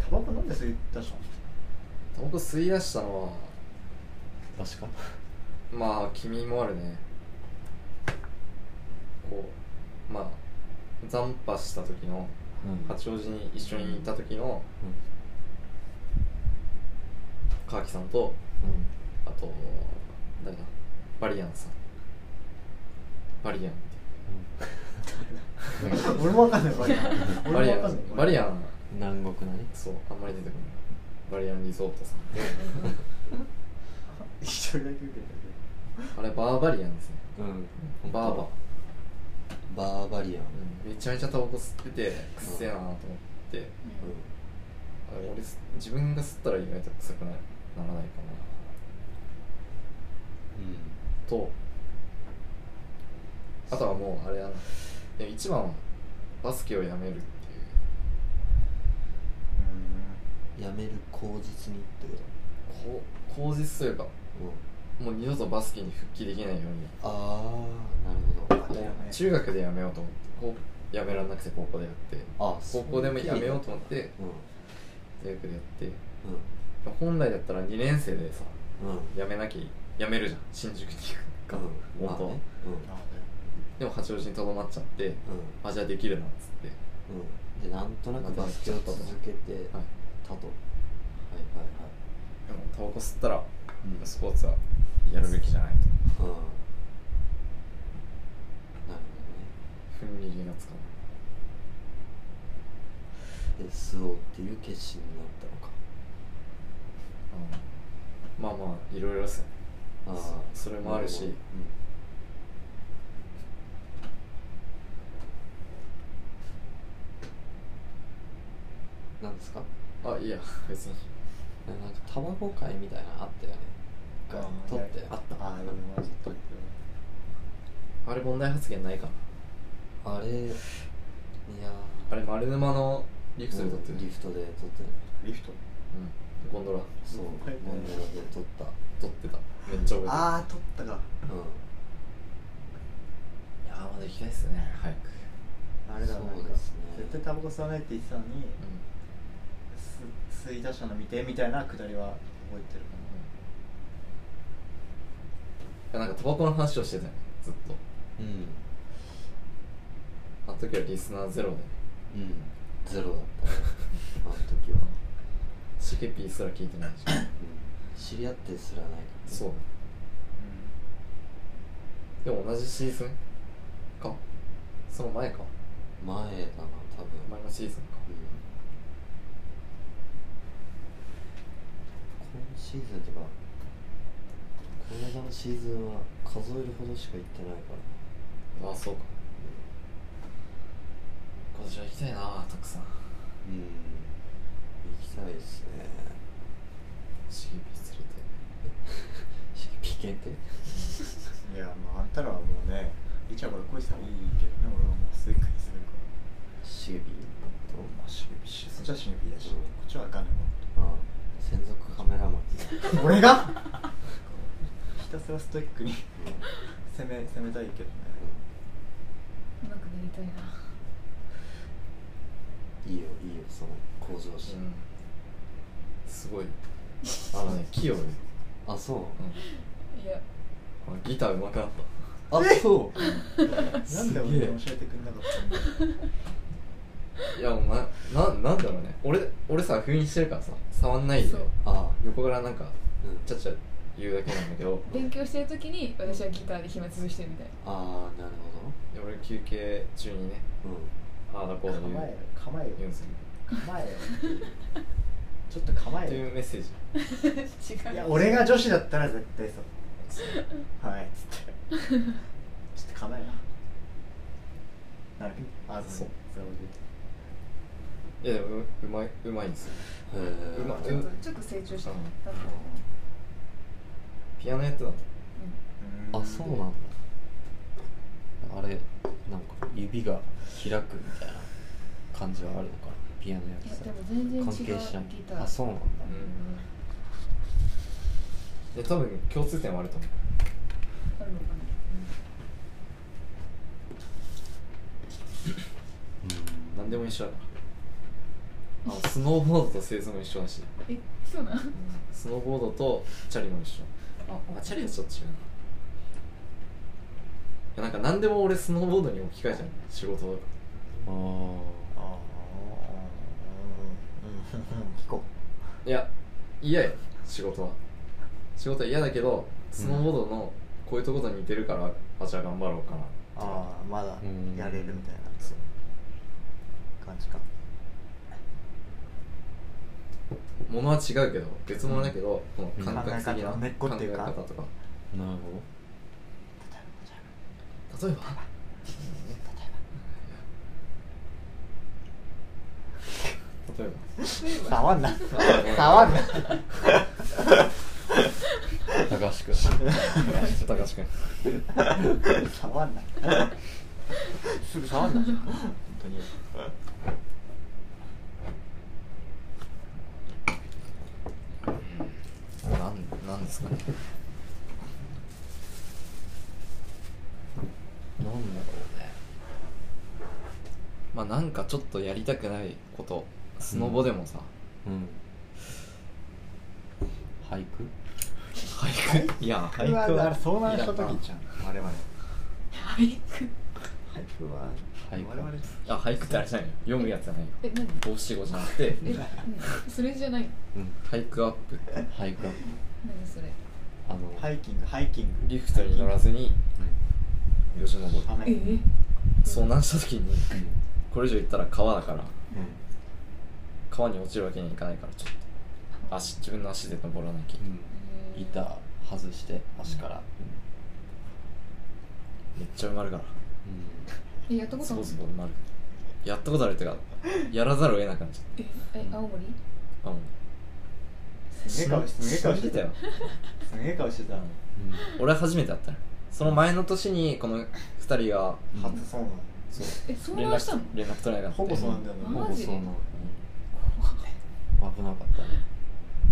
タバコ飲んで吸い出したの
タバコ吸い出したのは
確か
まあ君もあるねこうまあ惨破した時の
うん
八王子に一緒にいた時の
うん
川木さんと
う
あ
ん
と誰だバリアンさんバリアンって
俺もわかんないバリアン俺も
バリ
わ
ア
かんない
ンバリアン
南国なね
そうあんまり出てこないバリアンリゾートさん
一人だけ受けてる
あれバーバリアンですね
うん
バーバー、
バーバリアン、
うんめちゃめちゃタバコ吸っててくっせえなと思って
う
あれ俺す自分が吸ったら意外と臭くないならないかなんとあとはもうあれだなでも一番はバスケをやめるっていう
やめる口実にってこと
こう口実というか
うん
もう二度とバスケに復帰できないよう
ああなるほ
に
ど
もう中学でやめようと思ってこうやめられなくて高校でやって
あ
高校でもやめようと思って大学でやって
うんう
本来だったら2年生でさ
んうん
やめなきゃいやめるじゃん新宿に行くか、
うんまあ
本当は
ね
あ
でも八王子にとどまっちゃって
うんうん
あじゃあできるなっつって
うんでなんとなくバスケを続けて
はい
たとはいはいはい
でもタバコ吸ったら
うん
スポーツはやるべきじゃないと
うんなる
ふんぎりがつかな
ほどねで吸おうっていう決心になったのか
い、うん、まあまあいろいろですよ
ああ
それもあるし
なほどうんなんですか
あいいや別に
なんかタバコ会みたいなのあったよね
あ
撮って
あったああ俺もずっと
あれ問題発言ないかな
あれいや
あれ丸沼のリ
リ
フトで撮ってる
リフトで撮ってる
リフト
うんゴンドラ
そう
うん
モンデラで撮った
撮ってためっちゃ覚えてる
ああ撮ったか
う
いやーまだ行きたいっすね早く
あれだ
そうですね
なんか絶対タバコ吸わないって言ってたのに
う
す吸い出したの見てみたいなくだりは覚えてるかなん
いやなんかタバコの話をしてたよずっと
んうん
あの時はリスナーゼロで
うんゼロだったねあの時は、
シゲピーすら聞いてない し
うん、知り合ってすらないから、
そうでも同じシーズンかその前か
前だな多分、
前のシーズンか
うん、今シーズンとかこの間のシーズンは数えるほどしか行ってないから
ああそうか今年は行きたいなたくさん
うん行きたいですね
シゲピー連れて
シキピー検定
いやまああんたらはもうねイチャコラ恋したらいいけどね俺はもうすっかりするから
シゲピーと
まあシュビシュそっちはシュビだしこっちはあかんね
あ専属カメラマン
もん俺がひたすらストイックに攻め攻めたいけどね
うまくなりたいな。
いいよいいよその向上心、
うんすごいあのね 器用よ
あそう
いや、
あのギター上手くなった
あそ
なんで俺に教えてくれなかったんだよ
いやお前ななんだろうね俺俺さ封印してるからさ触んないで
そう
うあ
横からなんか
うん
ちゃっちゃ言うだけなんだけど
勉強してる時に私はギターで暇潰してるみたい
あーなるほ
で俺休憩中にね
どうん
ああだこうだ言う
構えろ構え
言うん
よ
ですよ
構えよちょっと構
って
え
いうメッセージ
な。
よいや
違う。
俺が女子だったら絶対そうはいっつってちょっと構えななるあ
そ
そううそう
いやでもううまいうまいんですよ
へえ
うま
ちょっとちょっと成長した。多分
ピアノやってたの
あそうなんだあれなんか指が開くみたいな感じはあるのかなピアノや
いや
つ
でも全然違う
関
ギ
係しない
ター。
あそうなんだ
うんで多分共通点はあると思う
あるのかな。
何でも一緒だなあのスノーボードと製図も一緒だし
うんえ、そうなん。あ、
スノーボードとチャリも一緒あチャリはちょっと違うないやなんか何でも俺スノーボードに置き換えちゃうの仕事だか
あー
ああうんうん聞こ
らいや嫌よ仕事は仕事は嫌だけどスノーボードのこういうとこと似てるから、あじゃあ頑張ろうかな
うああまだ
うん
やれるみたいな
そう
感じか
ものは違うけど別物だけど、この感覚的な
考え方根っこっていうか
考え方とか
なるほど
例えば例えば例えば
触んな触んな
高橋君
高橋君
触んなすぐ触んな本当に
なんなんですかね
なんだろうね
まあなんかちょっとやりたくないことスノボでもさ、
うん俳句
俳句いや俳
俳句
句
は
は
遭難した
いらん
時
な
じゃん我々
俳句。
俳句は
俳句
我々
あ俳句ってあれじゃないよ読むやつじゃないよ
え、何？
五七五じゃなくて
え、うんそれじゃない。
うん
俳句アップ
俳句
何それ。
あの、
ハイキングハイキング
リフトに乗らずによじ登る
雨
ええ、
遭難した時に
うん
これ以上行ったら川だから川に落ちるわけにいかないからちょっと足自分の足で登らなきゃいけない、
うん、板外して足から、
めっちゃ埋まるから
う
えやったこと
そ
ある
ぼそぼ埋まるやったことあるってかやらざるを得なくなっちゃっ
ええ青森
たあもう
すげえ顔してすげえ顔
死
し
んで
て
た
た
よ
よすげえ顔してたの
ん
俺初めて会ったのその前の年にこの2人が
初そうな
そう
え遭
連
難したの
絡連絡取れなか
の
った
ほぼそうなんだよ
マジ
ね
ほぼそうなの危なかったね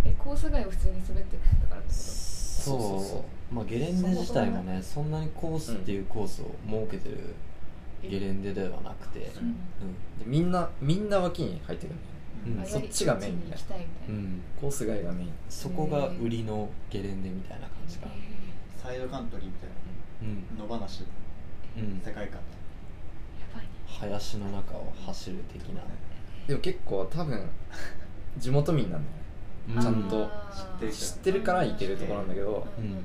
えコース外を普通に滑ってたからってこ
そう
そうそうそ
まあゲレンデ自体もねそんなにコースっていうコースを設けてる
と
ゲレンデではなくて
うん
でみんなみんな脇に入ってくる
うん、うん
あ
そっちがメイン
そっちに行きたいみたいな、
うん
コース外がメイン
そこが売りのゲレンデみたいな感じが
え
サイドカントリーみたい
うん
な野放し
うん
世界観
ーやばいね
林の中を走る的な、
でも結構多分地元民なんだよね
う
ちゃんと
あー
知
知ってるから行けるところなんだけど
うんうんうんうん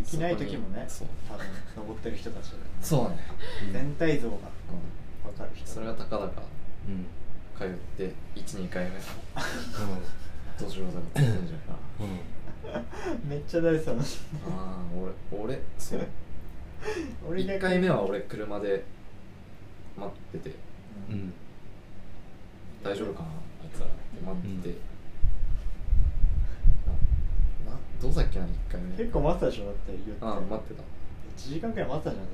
行きない時もね
そう
多分登ってる人たち
そうね、
全体像が分かる人
それが高々
うん
通って12回目
う
年上だったんじゃないかなん
うん
めっちゃ大好きなの
ああ俺俺そう
俺
1
が
回目は俺車で待ってて
うん
大丈夫かなあいつらって待ってて、ななどうだっけな1回目
結構待ってたでしょだって言って
ああ待ってた
1時間くらい待ってたじゃんだ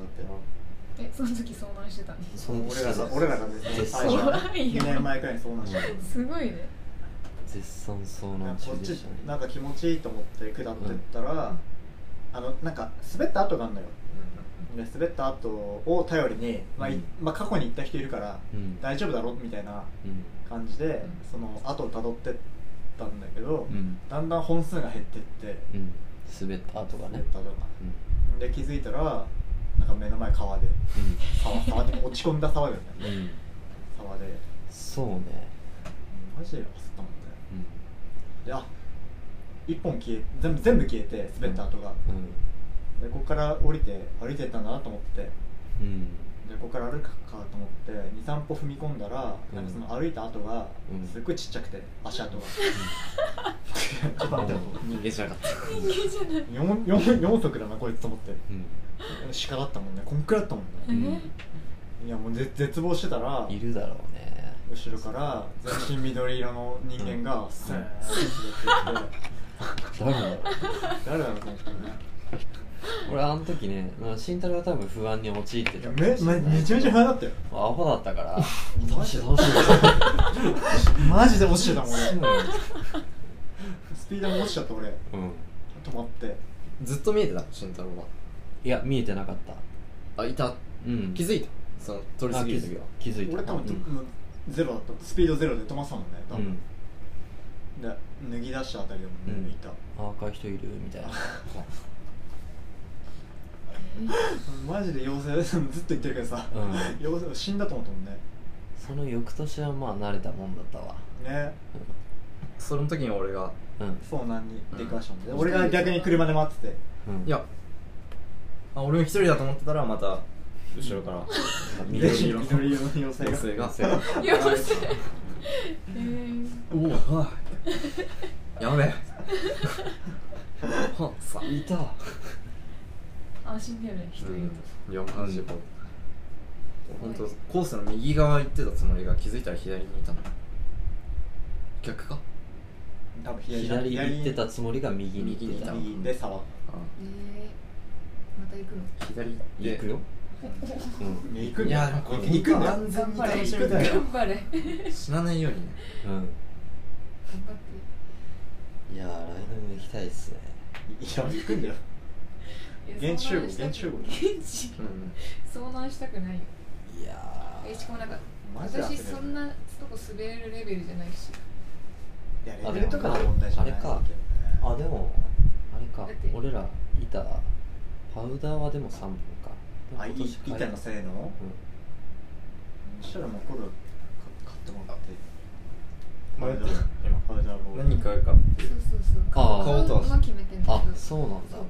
えその時遭難してたね
そんな
って俺らが俺らが絶対最初
怖いよ
2年前くらいにそうなんだよ
すごいね
絶賛遭
な
難
んかこ
中
っ
で
ち
したね
なんか気持ちいいと思って下ってったら、あのなんか滑った跡があるのよで滑った後を頼りに、まあい
うん
まあ、過去に行った人いるから
うん
大丈夫だろみたいな
うん
感じで、
ん
その後をたどってったんだけど、
うん
だんだん本数が減ってって
うん滑った後が
滑
ね
った後が
うん
で気づいたらなんか目の前川で沢沢で落ち込んだ沢だよね
うんうん
沢で
そうね
マジで走ったもんね
う
であ一本消え全部全部消えて滑った跡が、
んうん
でここから降りて歩いてったんだなと思ってで
うん
ここから歩くかと思って23歩踏み込んだら、
うん
なんかその歩いた跡が
うん
すっごいちっちゃくて足跡が、 ちょっと待って
人間じゃなかっ
人間じゃない
4, 4, 4足だなこいつと思って
うん
鹿だったもんねこんくらいだったもん
え
ね
ん
いやもうぜ絶望してたら
いるだろうね
後ろから全身緑色の人間がスーッてやってきて
誰だろう
誰だろうと思ってね
俺あの時ねまあ慎太郎は多分不安に陥って
い
た
やめめめちゃめちゃ不安だったよ
アホだったから
マジ
楽しい
マジで落ちてたもん俺
楽しい
スピードも落ちちゃった俺
うん
止まって
たずっと見えてた慎太郎はい
や見えてなかった
あいた
うん
気づいたその通り過ぎる時は
あ気づい気づいた
俺多分、
うん
もうゼロだったスピードゼロで止まってたもんね多
う
分
ん、
で脱ぎ出したあたりでも
う
ね、
ん
いた
あ赤い人いるみたいな
マジで妖精ずっと言ってるけどさ、
う
妖精死んだと思ったもんね
その翌年はまあ慣れたもんだったわ
ね
その時に俺が
うん
遭難に出くわしたもんね、
うん
俺が逆に車で待ってて
うん
いやあ俺も一人だと思ってたらまた後ろから
緑
緑色
色
の
緑色の妖
女性
精が
が
妖精えー
「おおはあやべ え」はっさ
いた
安心だよね人いる
いやマジでこう本当コースの右側行ってたつもりが気づいたら左にいたの逆か
多分左
左行ってたつもりが右に行ってた
右
左で沢
あ
とえーまた行くの
左行って
行くようん
行くん
い
だ
やでもこれ
行くんだよ
完全に楽し
行く
み
んだ
だよ
よ
頑張れ頑張って
死なないようにね
うんいやー来年も行きたいっすね
いや行くんだよ
いや
現地集合
遭難したく
現地集合
現地
うん
遭難したくないよ
いや
えしかもなんか
マジで焦
私
るよね
そんなとこ滑れるレベルじゃないし
いやレベルとかの問題じゃない
あでもまああれかあでもあれか
だって
俺ら板パウダーはでも3本か
あい
今年買え
板のせいの
う
そしたらもうこれを買ってもらって
迷ってる
今パウダーボール
何買う かって
そうそうそう
あー
買うのは決めてんだ
んあ
けど
そうなんだ
そう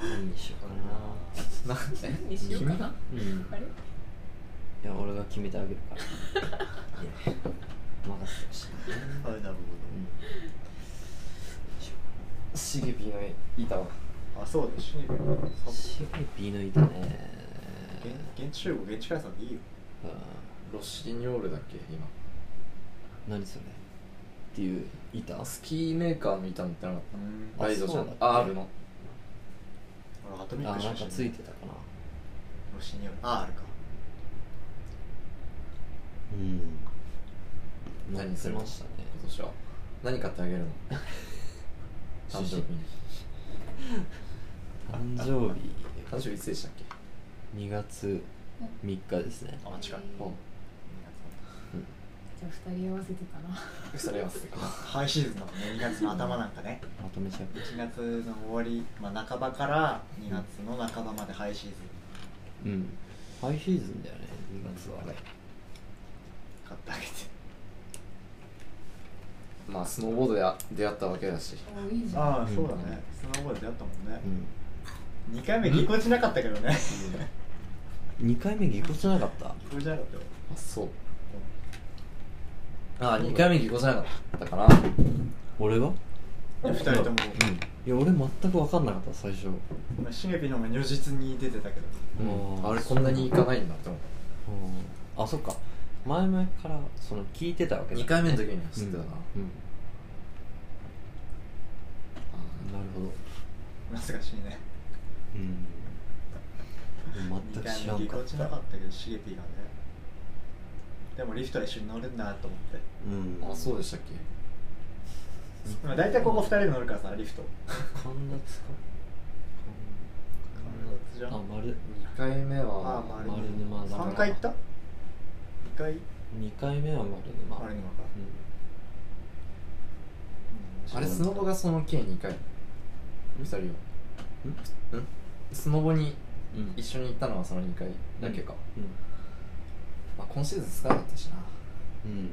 何にしようか な
なんで
何にしようかな
うんい
あれ
や俺が決めてあげる からいや任せてほしい
パウダーボー
シゲピーの板は
ルあそうだし
シェピーの板ね
現地集合現地解散でいいよ
うん
ロシニョールだっけ今
何それっていう板
スキーメーカーの板みたいな
うん
あ
ライドじゃ
そうだっ
ん
け
あ R の
俺アトミッ
あ
ク
なんかついてたかな
ロシニオああるか
うん乗
何
っ
す
て
る
ましたね
今年は何買ってあげるの誕生日に
誕生日
誕生日いつでしたっけ
2月3日ですね
あ近い
うん
と二人合わせてたな
それはすごい
ハイシーズンだもんね2月の頭なんか ね
まとめちゃう
1月の終わり、まあ、半ばから2月の半ばまでハイシーズン
うんハイシーズンだよね2月はあれ
買ってあげて
まあスノーボードであ出会ったわけだし
おいいじゃん
ああそうだねスノーボードであったもんね
う
2回目ぎこちなかったけどね
ん2回目ぎこちなかった
ぎこちなかったよ
あそうあ二2回目ぎこちなかったかな
俺が
2人とも、
いや俺全く分かんなかった最初
まあ、シゲピの方が如実に出てたけど
うん
あー
あれこんなにいかないんだって思っ
うんあそっか前々からその聞いてたわ
た
けだ
2回目の時には知ってたな、
うん、うんなるほど
懐かしいね
うん全く
2回
知ら
目
ん
ぎ
か
こ
っ
ちなかったけどシゲピがねでもリフトは一緒に乗れんなと思って
うん
あそうでしたっけ
まあ大体ここ2人で乗るからさリフト
た神田つか
神田津じゃん
あ丸
2回目
ああ
は
丸
丸沼だな
3回行った ?2 回
二回目は丸沼
丸沼か
う
あれスノボがその計2回2人はうんスノボに
んうん
一緒に行ったのはその2回だけか、
うん
まあ、今シーズン使わなかったしなも
うん
う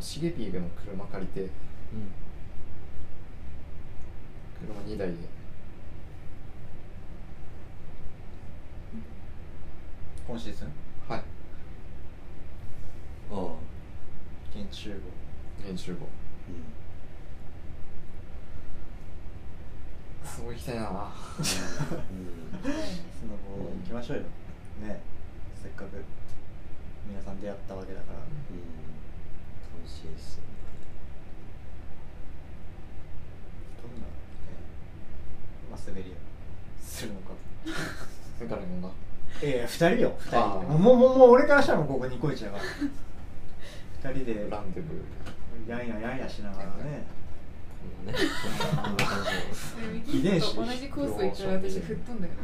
シゲピーの車借りて
うん
車2台で
今シーズン
はい
ああ
現地集合
練習後
う
すごい行きたい なん
うん
スノボ行きましょうよねせっかく皆さん出会ったわけだから
うん楽しいですね
どんな、ね、まあ滑りをするのか
だから呼んだ
いやいや2人よ2
あ
人
ー
もうもうもうもう俺からしたらもうここニコイチだから2人で
ランデブー
やんややんやしながらね
こん なねこんな感じなの
ミキと同じコース行ったら私吹っ飛んだよね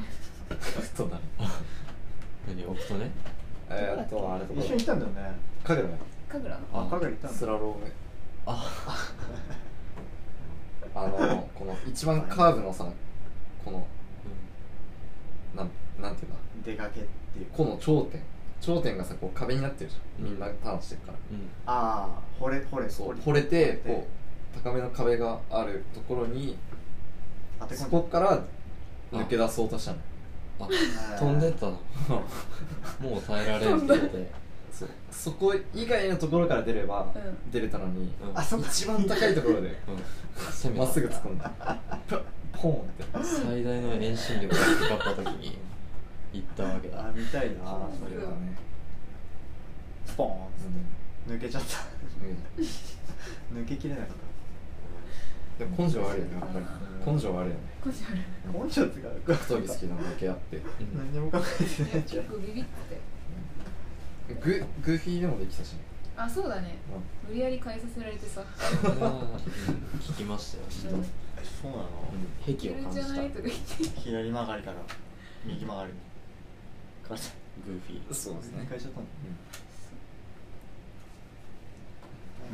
そうだね
何オプトね
えーっとあれとか
一緒に行ったんだよね
影もやっ
神楽
あ香川行ったたん
ス
だ
ラローム
あ
あのこの一番カーブのさこのなんなんていうんだ
出かけっていう
この頂点頂点がさこう壁になってるじゃんみんなターンしてるから
うんうん
ああ惚れ惚れ
そう
り
惚れて
惚れ
こう高めの壁があるところに
当て込
そ
んじゃ
こから抜け出そうとしたの
あ
った
飛んで ったなもう耐えられんってことで
そうそこ以外のところから出れば
うん
出れたのに
うん
あそっか
一番高いところ で
うん攻めた
まっすぐ突っ込んだプッポーンって
最大の遠心力がかかった時に行ったわけだ
あ見たいなそれ
れ
は
は
スポーンっつ
う
って抜けちゃった
ん
抜けきれなかっ
でも根性はあるよねやっぱり根性はあるよね
こじある
た根性使うか
格闘技好きなのだけあって
うん
何にも考えてないじ
結
ゃん
構ビビって
ググーフィーでもできたしね
あそうだね
うん
無理やり変えさせられてさ
あー聞きましたよちょっと
そうなの
うん
い
癖を
る
感
んじ
じ
ゃ
た
ないとか言って
左曲がりから右曲がりに変えちゃ
グーフィー
そうですね
変えちゃったの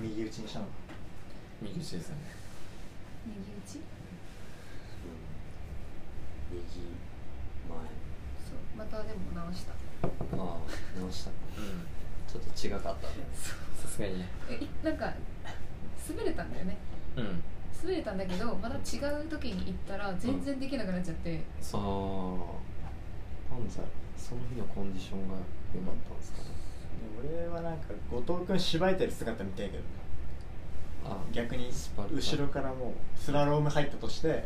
右打ちにしたの
右打ちですよね
右打ち
うん右
そうまたでも直した
ああ直した
うん
ちょっと違かった
さすがにね
えいなんか滑れたんだよね
うん
滑れたんだけどまた違う時に行ったら全然できなくなっちゃって、
ああなんだろうその日のコンディションが良かったんですかね
俺はなんか後藤君しばいてる姿見たいけど
あ
逆に
スパルタ
後ろからもうスラローム入ったとして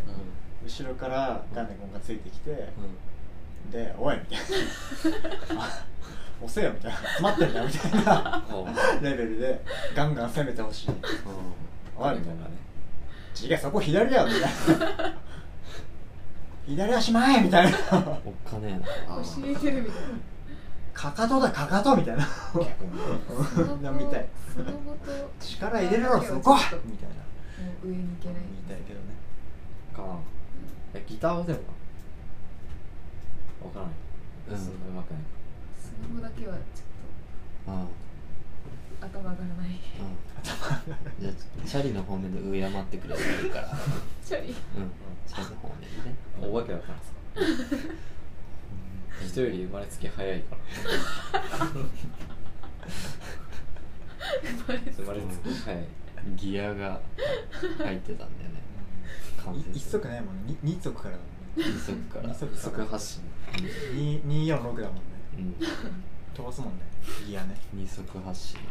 うん
後ろからガンデ君がついてきて
うん
で「おい!」みたいな 「押せよ」みたいな「待ってんだよ」みたいな
あー
レベルでガンガン攻めてほしい「おい!」みたいな
ね
「違うそこ左だよ」みたいな 「左足前!」みたいな
おっかねえなあ
教えてるみたいな
「かかとだかかと」みたいな
その後
みた い
その後とも
力入れろそこみたいな
う上に行けない
みたいけどね
かなえギターはでもわからない
うん
そんなうまくない
スノボだけはちょっ
あー
頭上がらない
うんじゃあチャリの方面で敬ってくれればいいから
チャリ
うんチャリの方面でね
お化けだったんですか人より生まれつき早いから
生まれ
生まれつき早い
ギアが入ってたんだよね完
い
全
一足ないもんね二二足からだもんね
二足から
二足
不足発進
二二四六だもんね
うん
飛ばすもんねいやね
二足発進だね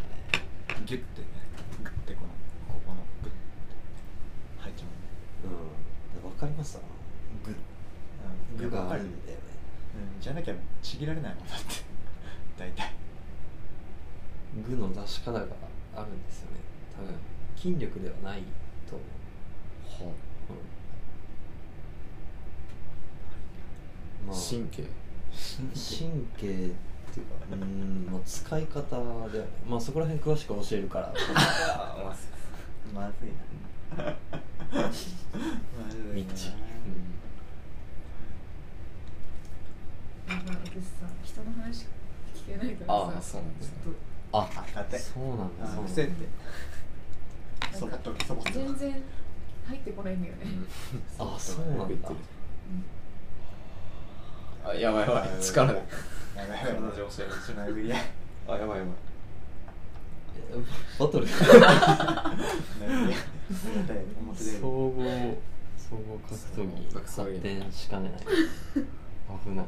ギュッてねグッてこのここのグッて入っちゃうもんね
うんわかりましたグ
う
グ
ん
がある
うん
んだよね
じゃなきゃちぎられないもんだって大体
具の出し方があるんですよね多分筋力ではないと思
は
う、うんまあ
神経
神経っていうかうーん、まあ、使い方ではねまあそこら辺詳しく教えるか
あ
ら
ま
まずいなまずいな
みっちり、
やばい私さ人の話聞けないから
あ
さ
あそうなんですね
ちょっ
あ
勝手
そうなんだ
あ
そうなんだ
癖って
と
そ
な
ぼ
ん
っ
か
とそぼっと
全然入ってこないんだよね
あそうなんだ
ああやばいやばい力
や
が
ばいやばい
体上昇
つなぐり合い
あやばいやばい
えバトル
つなぐり合い屋台表で
総合総合格闘技
格闘技
発展しかねない危ない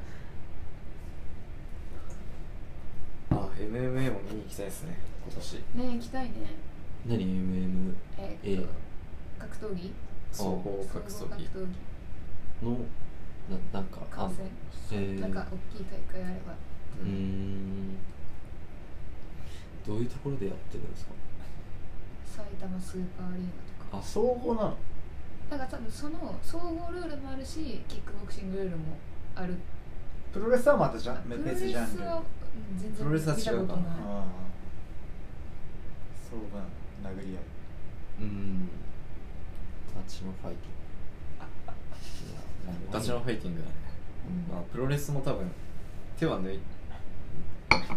あ MMA も見に行きたいですね今年
ねえ行きたいね
何 MMA
えー
A
っと格闘技
総合格
総合
闘技
格闘技
のななんかあ
観戦
えー、
なんか大きい大会あれば
うーんどういうところでやってるんですか
埼玉スーパーアリーナとか
あ
総合なの
だから多分その総合ルールもあるしキックボクシングルールもある
プロレスはまたじゃ
プ
別
ロレ
別ジャン
ス
ル
はうん全然
プロレスは違うかな
見たことい
あそうなの殴り
ー
合いう
ん立ちのファイティングいや
ダチのファイティングだね、
うん
まあ、プロレスも多分手は抜い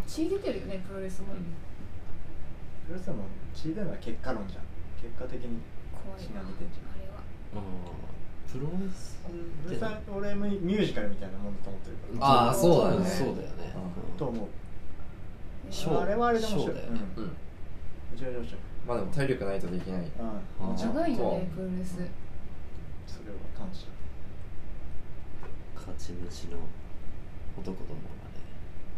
血出てるよねプロレスも、
プロレスはもう血出るのは結果論じゃん結果的に
怖い
血が
なあ
出てんじゃん
れは
うんプロレス
プ
っ
ロレ
て
スは俺もミュージカルみたいなもんだと思ってるから
あーそうだよね
そうだよね
と思う
ショー
あれはあれで面
ショ
白
ー
い
だよね
う
うんん
めちゃめちゃ面白い
まあでも体力ないとできない
うん
あー
もちろん
長いよね
そう
プロレス
それは感謝
勝ち虫の男どもがね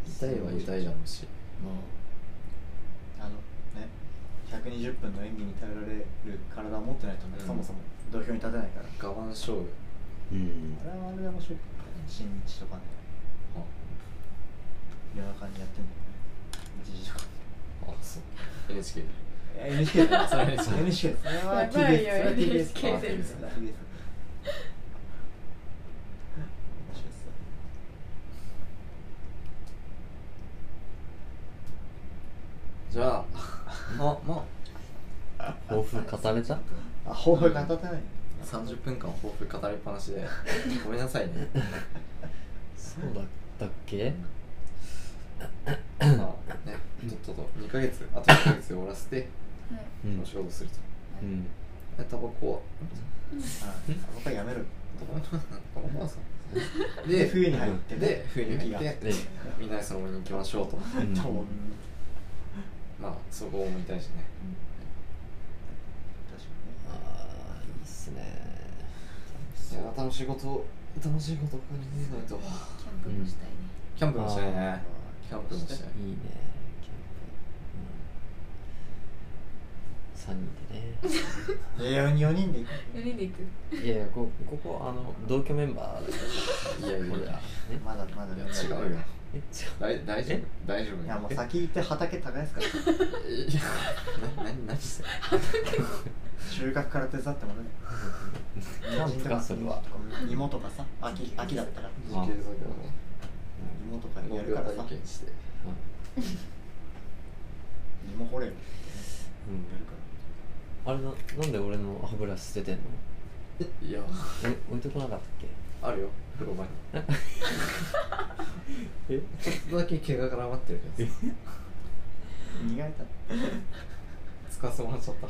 痛いは痛いじゃんし
あのね120分の演技に耐えられる体を持ってないとね、
うん
そもそも土俵に立てないから
我慢勝負
うん
あれはあれで面白い新日とかね夜中にやってんだよね1時とか
あそう NHK で
いや NHK だよ
それは NHK
NHK それは
やばいよ NHK
TBS それはそれは TBS それは TBS 面白いっすよ
じゃあもうも
抱負語れた
あ抱負が当たってないね
う30分間抱負語りっぱなしでごめんなさいね
そうだったっけ
まあねちょっとと2ヶ月あと2ヶ月で終わらせて
はい
うん
お仕事すると
うん
えタバコは
あ僕はやめる
タバコはタバコはさ
で
で
冬に入ってね
で冬に入って
で
みんなでその森に行きましょうと
うん
多分
まあそこを見たいしね
確かにね
ああいいっすね
いや楽しいことを楽しいことを感じないと
キャンプもしたいね、
キャンプもしたいねキャンプもしたい
いいねキャンプ、うん、3人
いや4人で行く
4人で行く
でねいやいやこここあの同居メンバーだか
いや
ら
いや
俺
い
ら
や
え
まだまだ
いや違うよ
え違
だい大丈夫
え
大丈夫
いやもう先行って畑耕すから
えいやな何何して
収穫から手伝ってもら
うキ
え
ャンプかそれは
芋とかさ秋秋だったら
時系だ
芋と
け
か
どね
や
農
る
業
からさ
体験して
芋掘れる
うん、うん
やるから
あれななんで俺の歯ブラシ捨ててんの
いや
え置いてこなかったっけ
あるよ風呂場にえちょっとだけ毛が絡まってるけどさ
逃がれた
使わせてもらっちゃった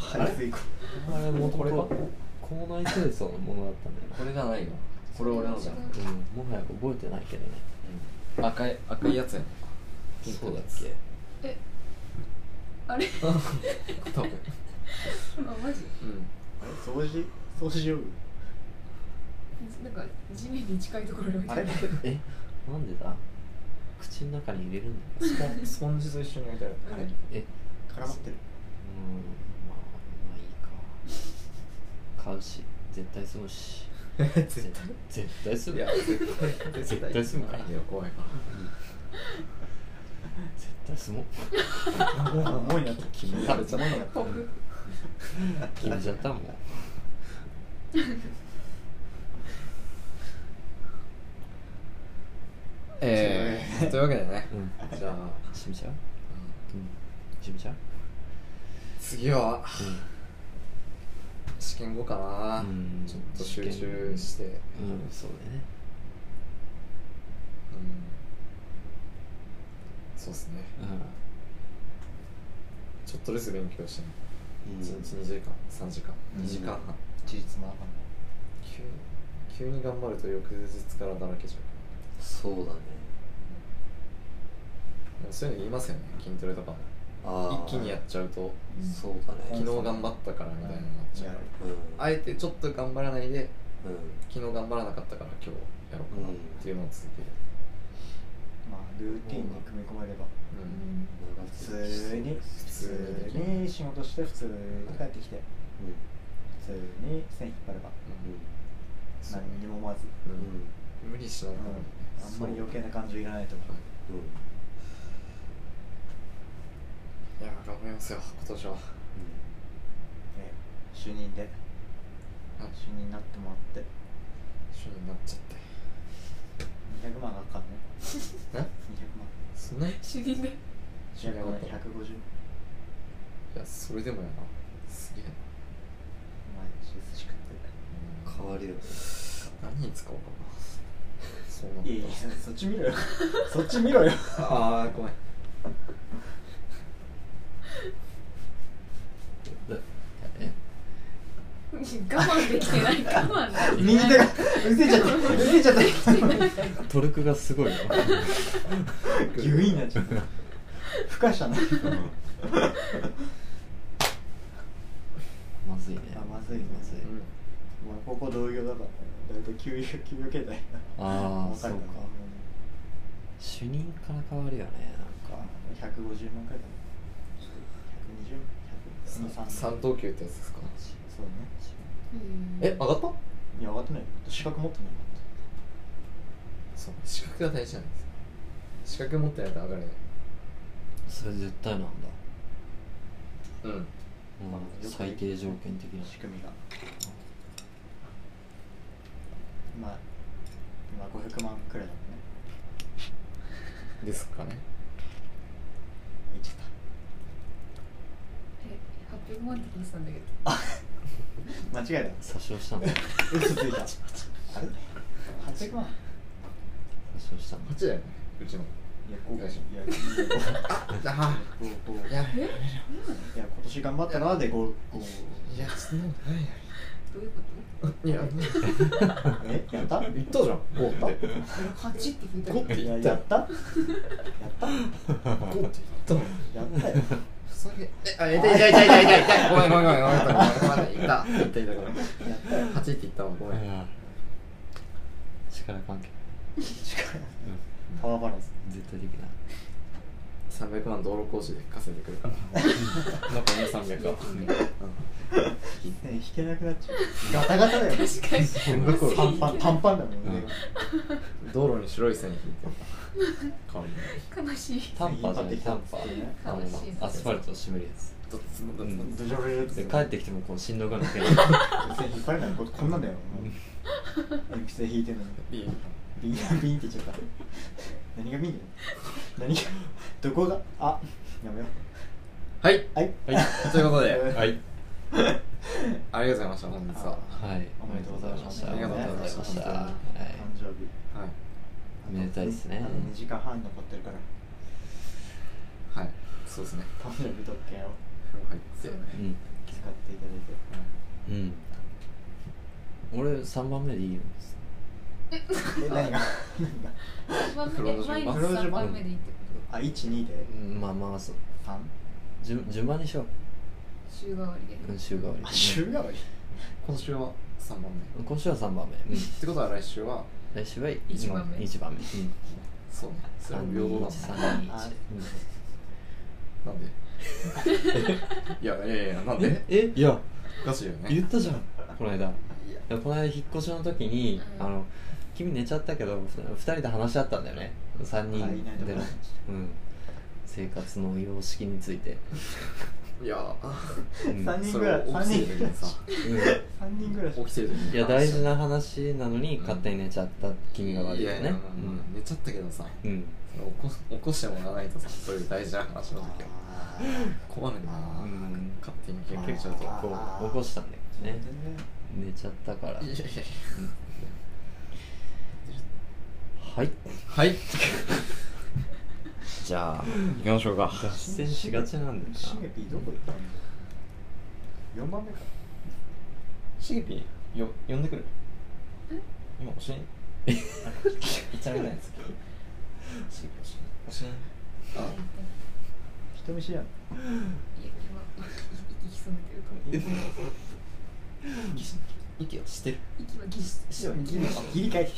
早く行こ
あれもと
これか
もと校内清掃のものだったんだよ
これじゃないよこれ俺のじゃん、
な、うん、もはや覚えてないけどね
うん、赤い赤いやつやねピンク
そうだ
だ
っ
っ
け
あれ
け多分
あマジ
う
う掃除掃除用具
なんか地面に近いところに置いて
あ
あ
れ
る
えなんでだ口の中に入れるんだよ
んスポンジと一緒に置いてある
あれ絡
え
まってる
うんまあまあいいか買うし絶対済むし絶対絶対済む
いや
よ
絶対
絶対すんから
いや怖いか
絶対済もう
重いなって
決められちゃった
重いなって
決めちゃったもん
らええー、というわけでね
うん
じゃあ
しみちゃううんしみちゃう
次は試験後かな、
うん
ちょっと集中して、うん
うん、うん、そうだね
そうですね
う
ちょっとずつ勉強してね
うん
1日2時間3時間
うん
2時間半、
事実もあかん
急に急に頑張ると翌日からだらけちゃう
そうだね
でもそういうの言いますよね筋トレとかも
ああ
一気にやっちゃうと
そうだね
昨日頑張ったからみたいになっちゃうか
うん
らあえてちょっと頑張らないで
うん
昨日頑張らなかったから今日やろうかなっていうのを続ける、
まあルーティンに組み込まれれば
うん
普通に普通に仕事して普通に帰ってきて
うん
普通に線引っ張れば
そう
何にも思わず、
う
うん
ん無理しないと思うね
あんまり余計な感情いらないと思
う
う
ん
いや頑張りますよ今年は
ね主任で
あ
主任になってもらって
一緒になっちゃって
200万があ かんね
え
200万
そんない
主任で
主任
200
上がっ
万
た
150お前
やそれでもやなすげえな
寿司食って
変わるよね
何に使おうかなそうなん
るいやいやそっち見ろよ そっち見ろよ
ああごめん
んだえ
我慢できてない我慢できてない
右手が うせちゃったうせちゃった
トルクがすごいよ
ギュイーンになっちゃった孵化したね
まずいね
あまずいね
まずい
うん
お前高校同業だからねだいたい給与給与形態
ああ
わ
そ
か
う
る
か
か
主任から変わるよねなんか
150万くらいだ120 1 2 3
三等級ってやつですか
そうね
うん
え上がった
いや上がってないよ資格持ってない
そう資格が大事なんですよ資格持ってないと上がれない
それ絶対なんだ、
うん
うん、最低条件的な
仕組みがまあ今500万くらいだもんね
ですかね
言っちゃ
え800万って聞いてたんだけど
った間違え
殺傷したんだ
た嘘ついたあれ800万
殺傷したんだ
八だよねうちの
いや5
よいし
いや5
あ
5いや
やべえ
今年頑張ったなで5 5
いやそんなことない
どういうこ
いや
えやった
言ったじゃん5って
と ?8 って聞いた
5って
い
言
や
った
や
よ
ったやった
5って言ったの
やったよ
ふざけえあ痛い痛い痛い痛い痛い痛いごめんごめんごめんごめんごめんごめん言った言った言ったごめん
やったよ
8って言ったわごめん
ああ力関係
パワーバランス
絶対できない
300万道路工事で稼いでくるから残りの300は
ね引けなくなっちゃうガタガタだよ
確かに
パンパンパンパンだもんね
道路に白い線引いて顔に
悲しい
タンパじゃないタンパあ
悲しい
のアスファルトを締めるやつ
ドッツンド
う
ッツン
ん
ドジョレレって
で帰ってきてもこう振動が抜けない
引っ張れないここんなんだよ鉛筆で引いてるのに
いいよ
ビンビンって言っちゃった何がビンだよ何がどこがあやめよう
はい
はい
ということで
はい
ありがとうございました本日は
はい
おめでとうございました
ありがとうございましたは
誕生日
はい
いめでたいですね
あと2時間半残ってるから
はいそうですね
パンダの特権を
風呂入っ
そ
て
う
はい
ね
うん
使っていただいて
うん俺3番目でいいよ
え何が
一番
クロ
目
ーズ
で
順
毎
番
日3番目でいいってこ
あ12で
うんまあまあそう
3
順順番にしよ
と週替わりで
ううん週替わり
あ週替わり
今週は3番目っ
うん今週は3番目、うん、
てことは来週は
来週は
一番目
1番目うん
そうねそれも平等
321
な
321
あ
のなんでいやいやいやなんで
えいや
ガチだよね
言ったじゃんこの間
いや
でこの間引っ越しの時に、
うん
あの君寝ちゃったけどふ二人で話し合ったんだよね3人
あいないとこ
での、うん、生活の様式について、
いや
うん
3人
そ
ぐ
れ
らい
を
3
起きて
人
る時
ぐらい
にさ
う
3人ぐらい
起きてる時に
んいや大事な話なのに勝手に寝ちゃった君が悪いよ
いやいや
ね
まあまあまあ寝ちゃったけどさ
うん、うん
その起こす起こしてもらわないとさそういう大事な話の時は
あ
困るんだよな
あー
うん勝手に切れちゃうと
あー
こう起こしたんだ
ー
けど
全
ね
然
寝ちゃったから
いやいやいや
はい
はい
じゃあ行きましょうか脱線しがちなんだよ
シゲピーどこ行ったんだよ4番目か
シゲピーよ呼んでくる今おしに 言っちゃいけないんですけどシゲピーおしにおしに
いや行ってない
人見知りやん
いや今息息潜めてると思う
息をしてる
息はぎしし
ギリギリかい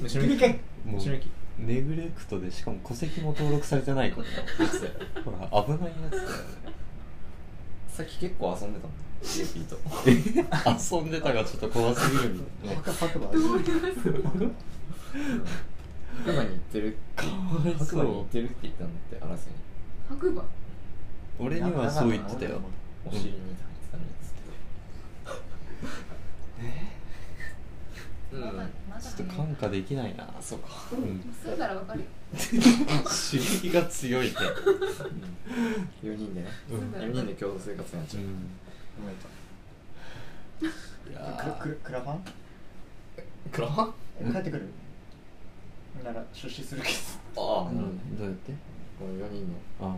むし
ギリかい
なもう
後ろに
ネグレクトでしかも戸籍も登録されてないことだほら危ないやつだよね
さっき結構遊んでたもんシゲピー と
遊んでたがちょっと怖すぎるみたいな
白白馬どう
白馬に行ってるって
わいそう
白馬に行ってるって言ったんだって荒瀬に
白馬
俺にはそう言ってたよ
お尻に入ってたんですけど
まだ
うん
まだ
ちょっと感化できないなそうかうん
そうならわかるよ
刺激が強いね
4人でね
うん
4人で共同生活やっちゃう
い
クラ
や
クラクラファン
クラハン
え帰ってくるなら出資するけ
あ
ー
あな
う
るほどね
んどうやって
この4人の
あ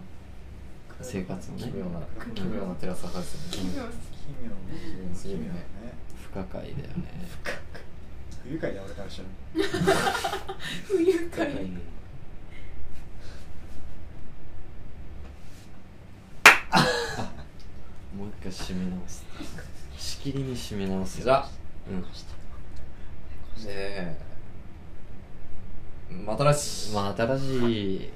生活の
奇
ね
妙な奇妙なテラスハウス
奇妙
ど奇妙ね
奇妙ね
不可解だよね
不愉快だ俺からしたら
不愉快
うんあもう一回締め直すしきりに締め直す
じゃあ
うん
ねえまたらし
まあ新しい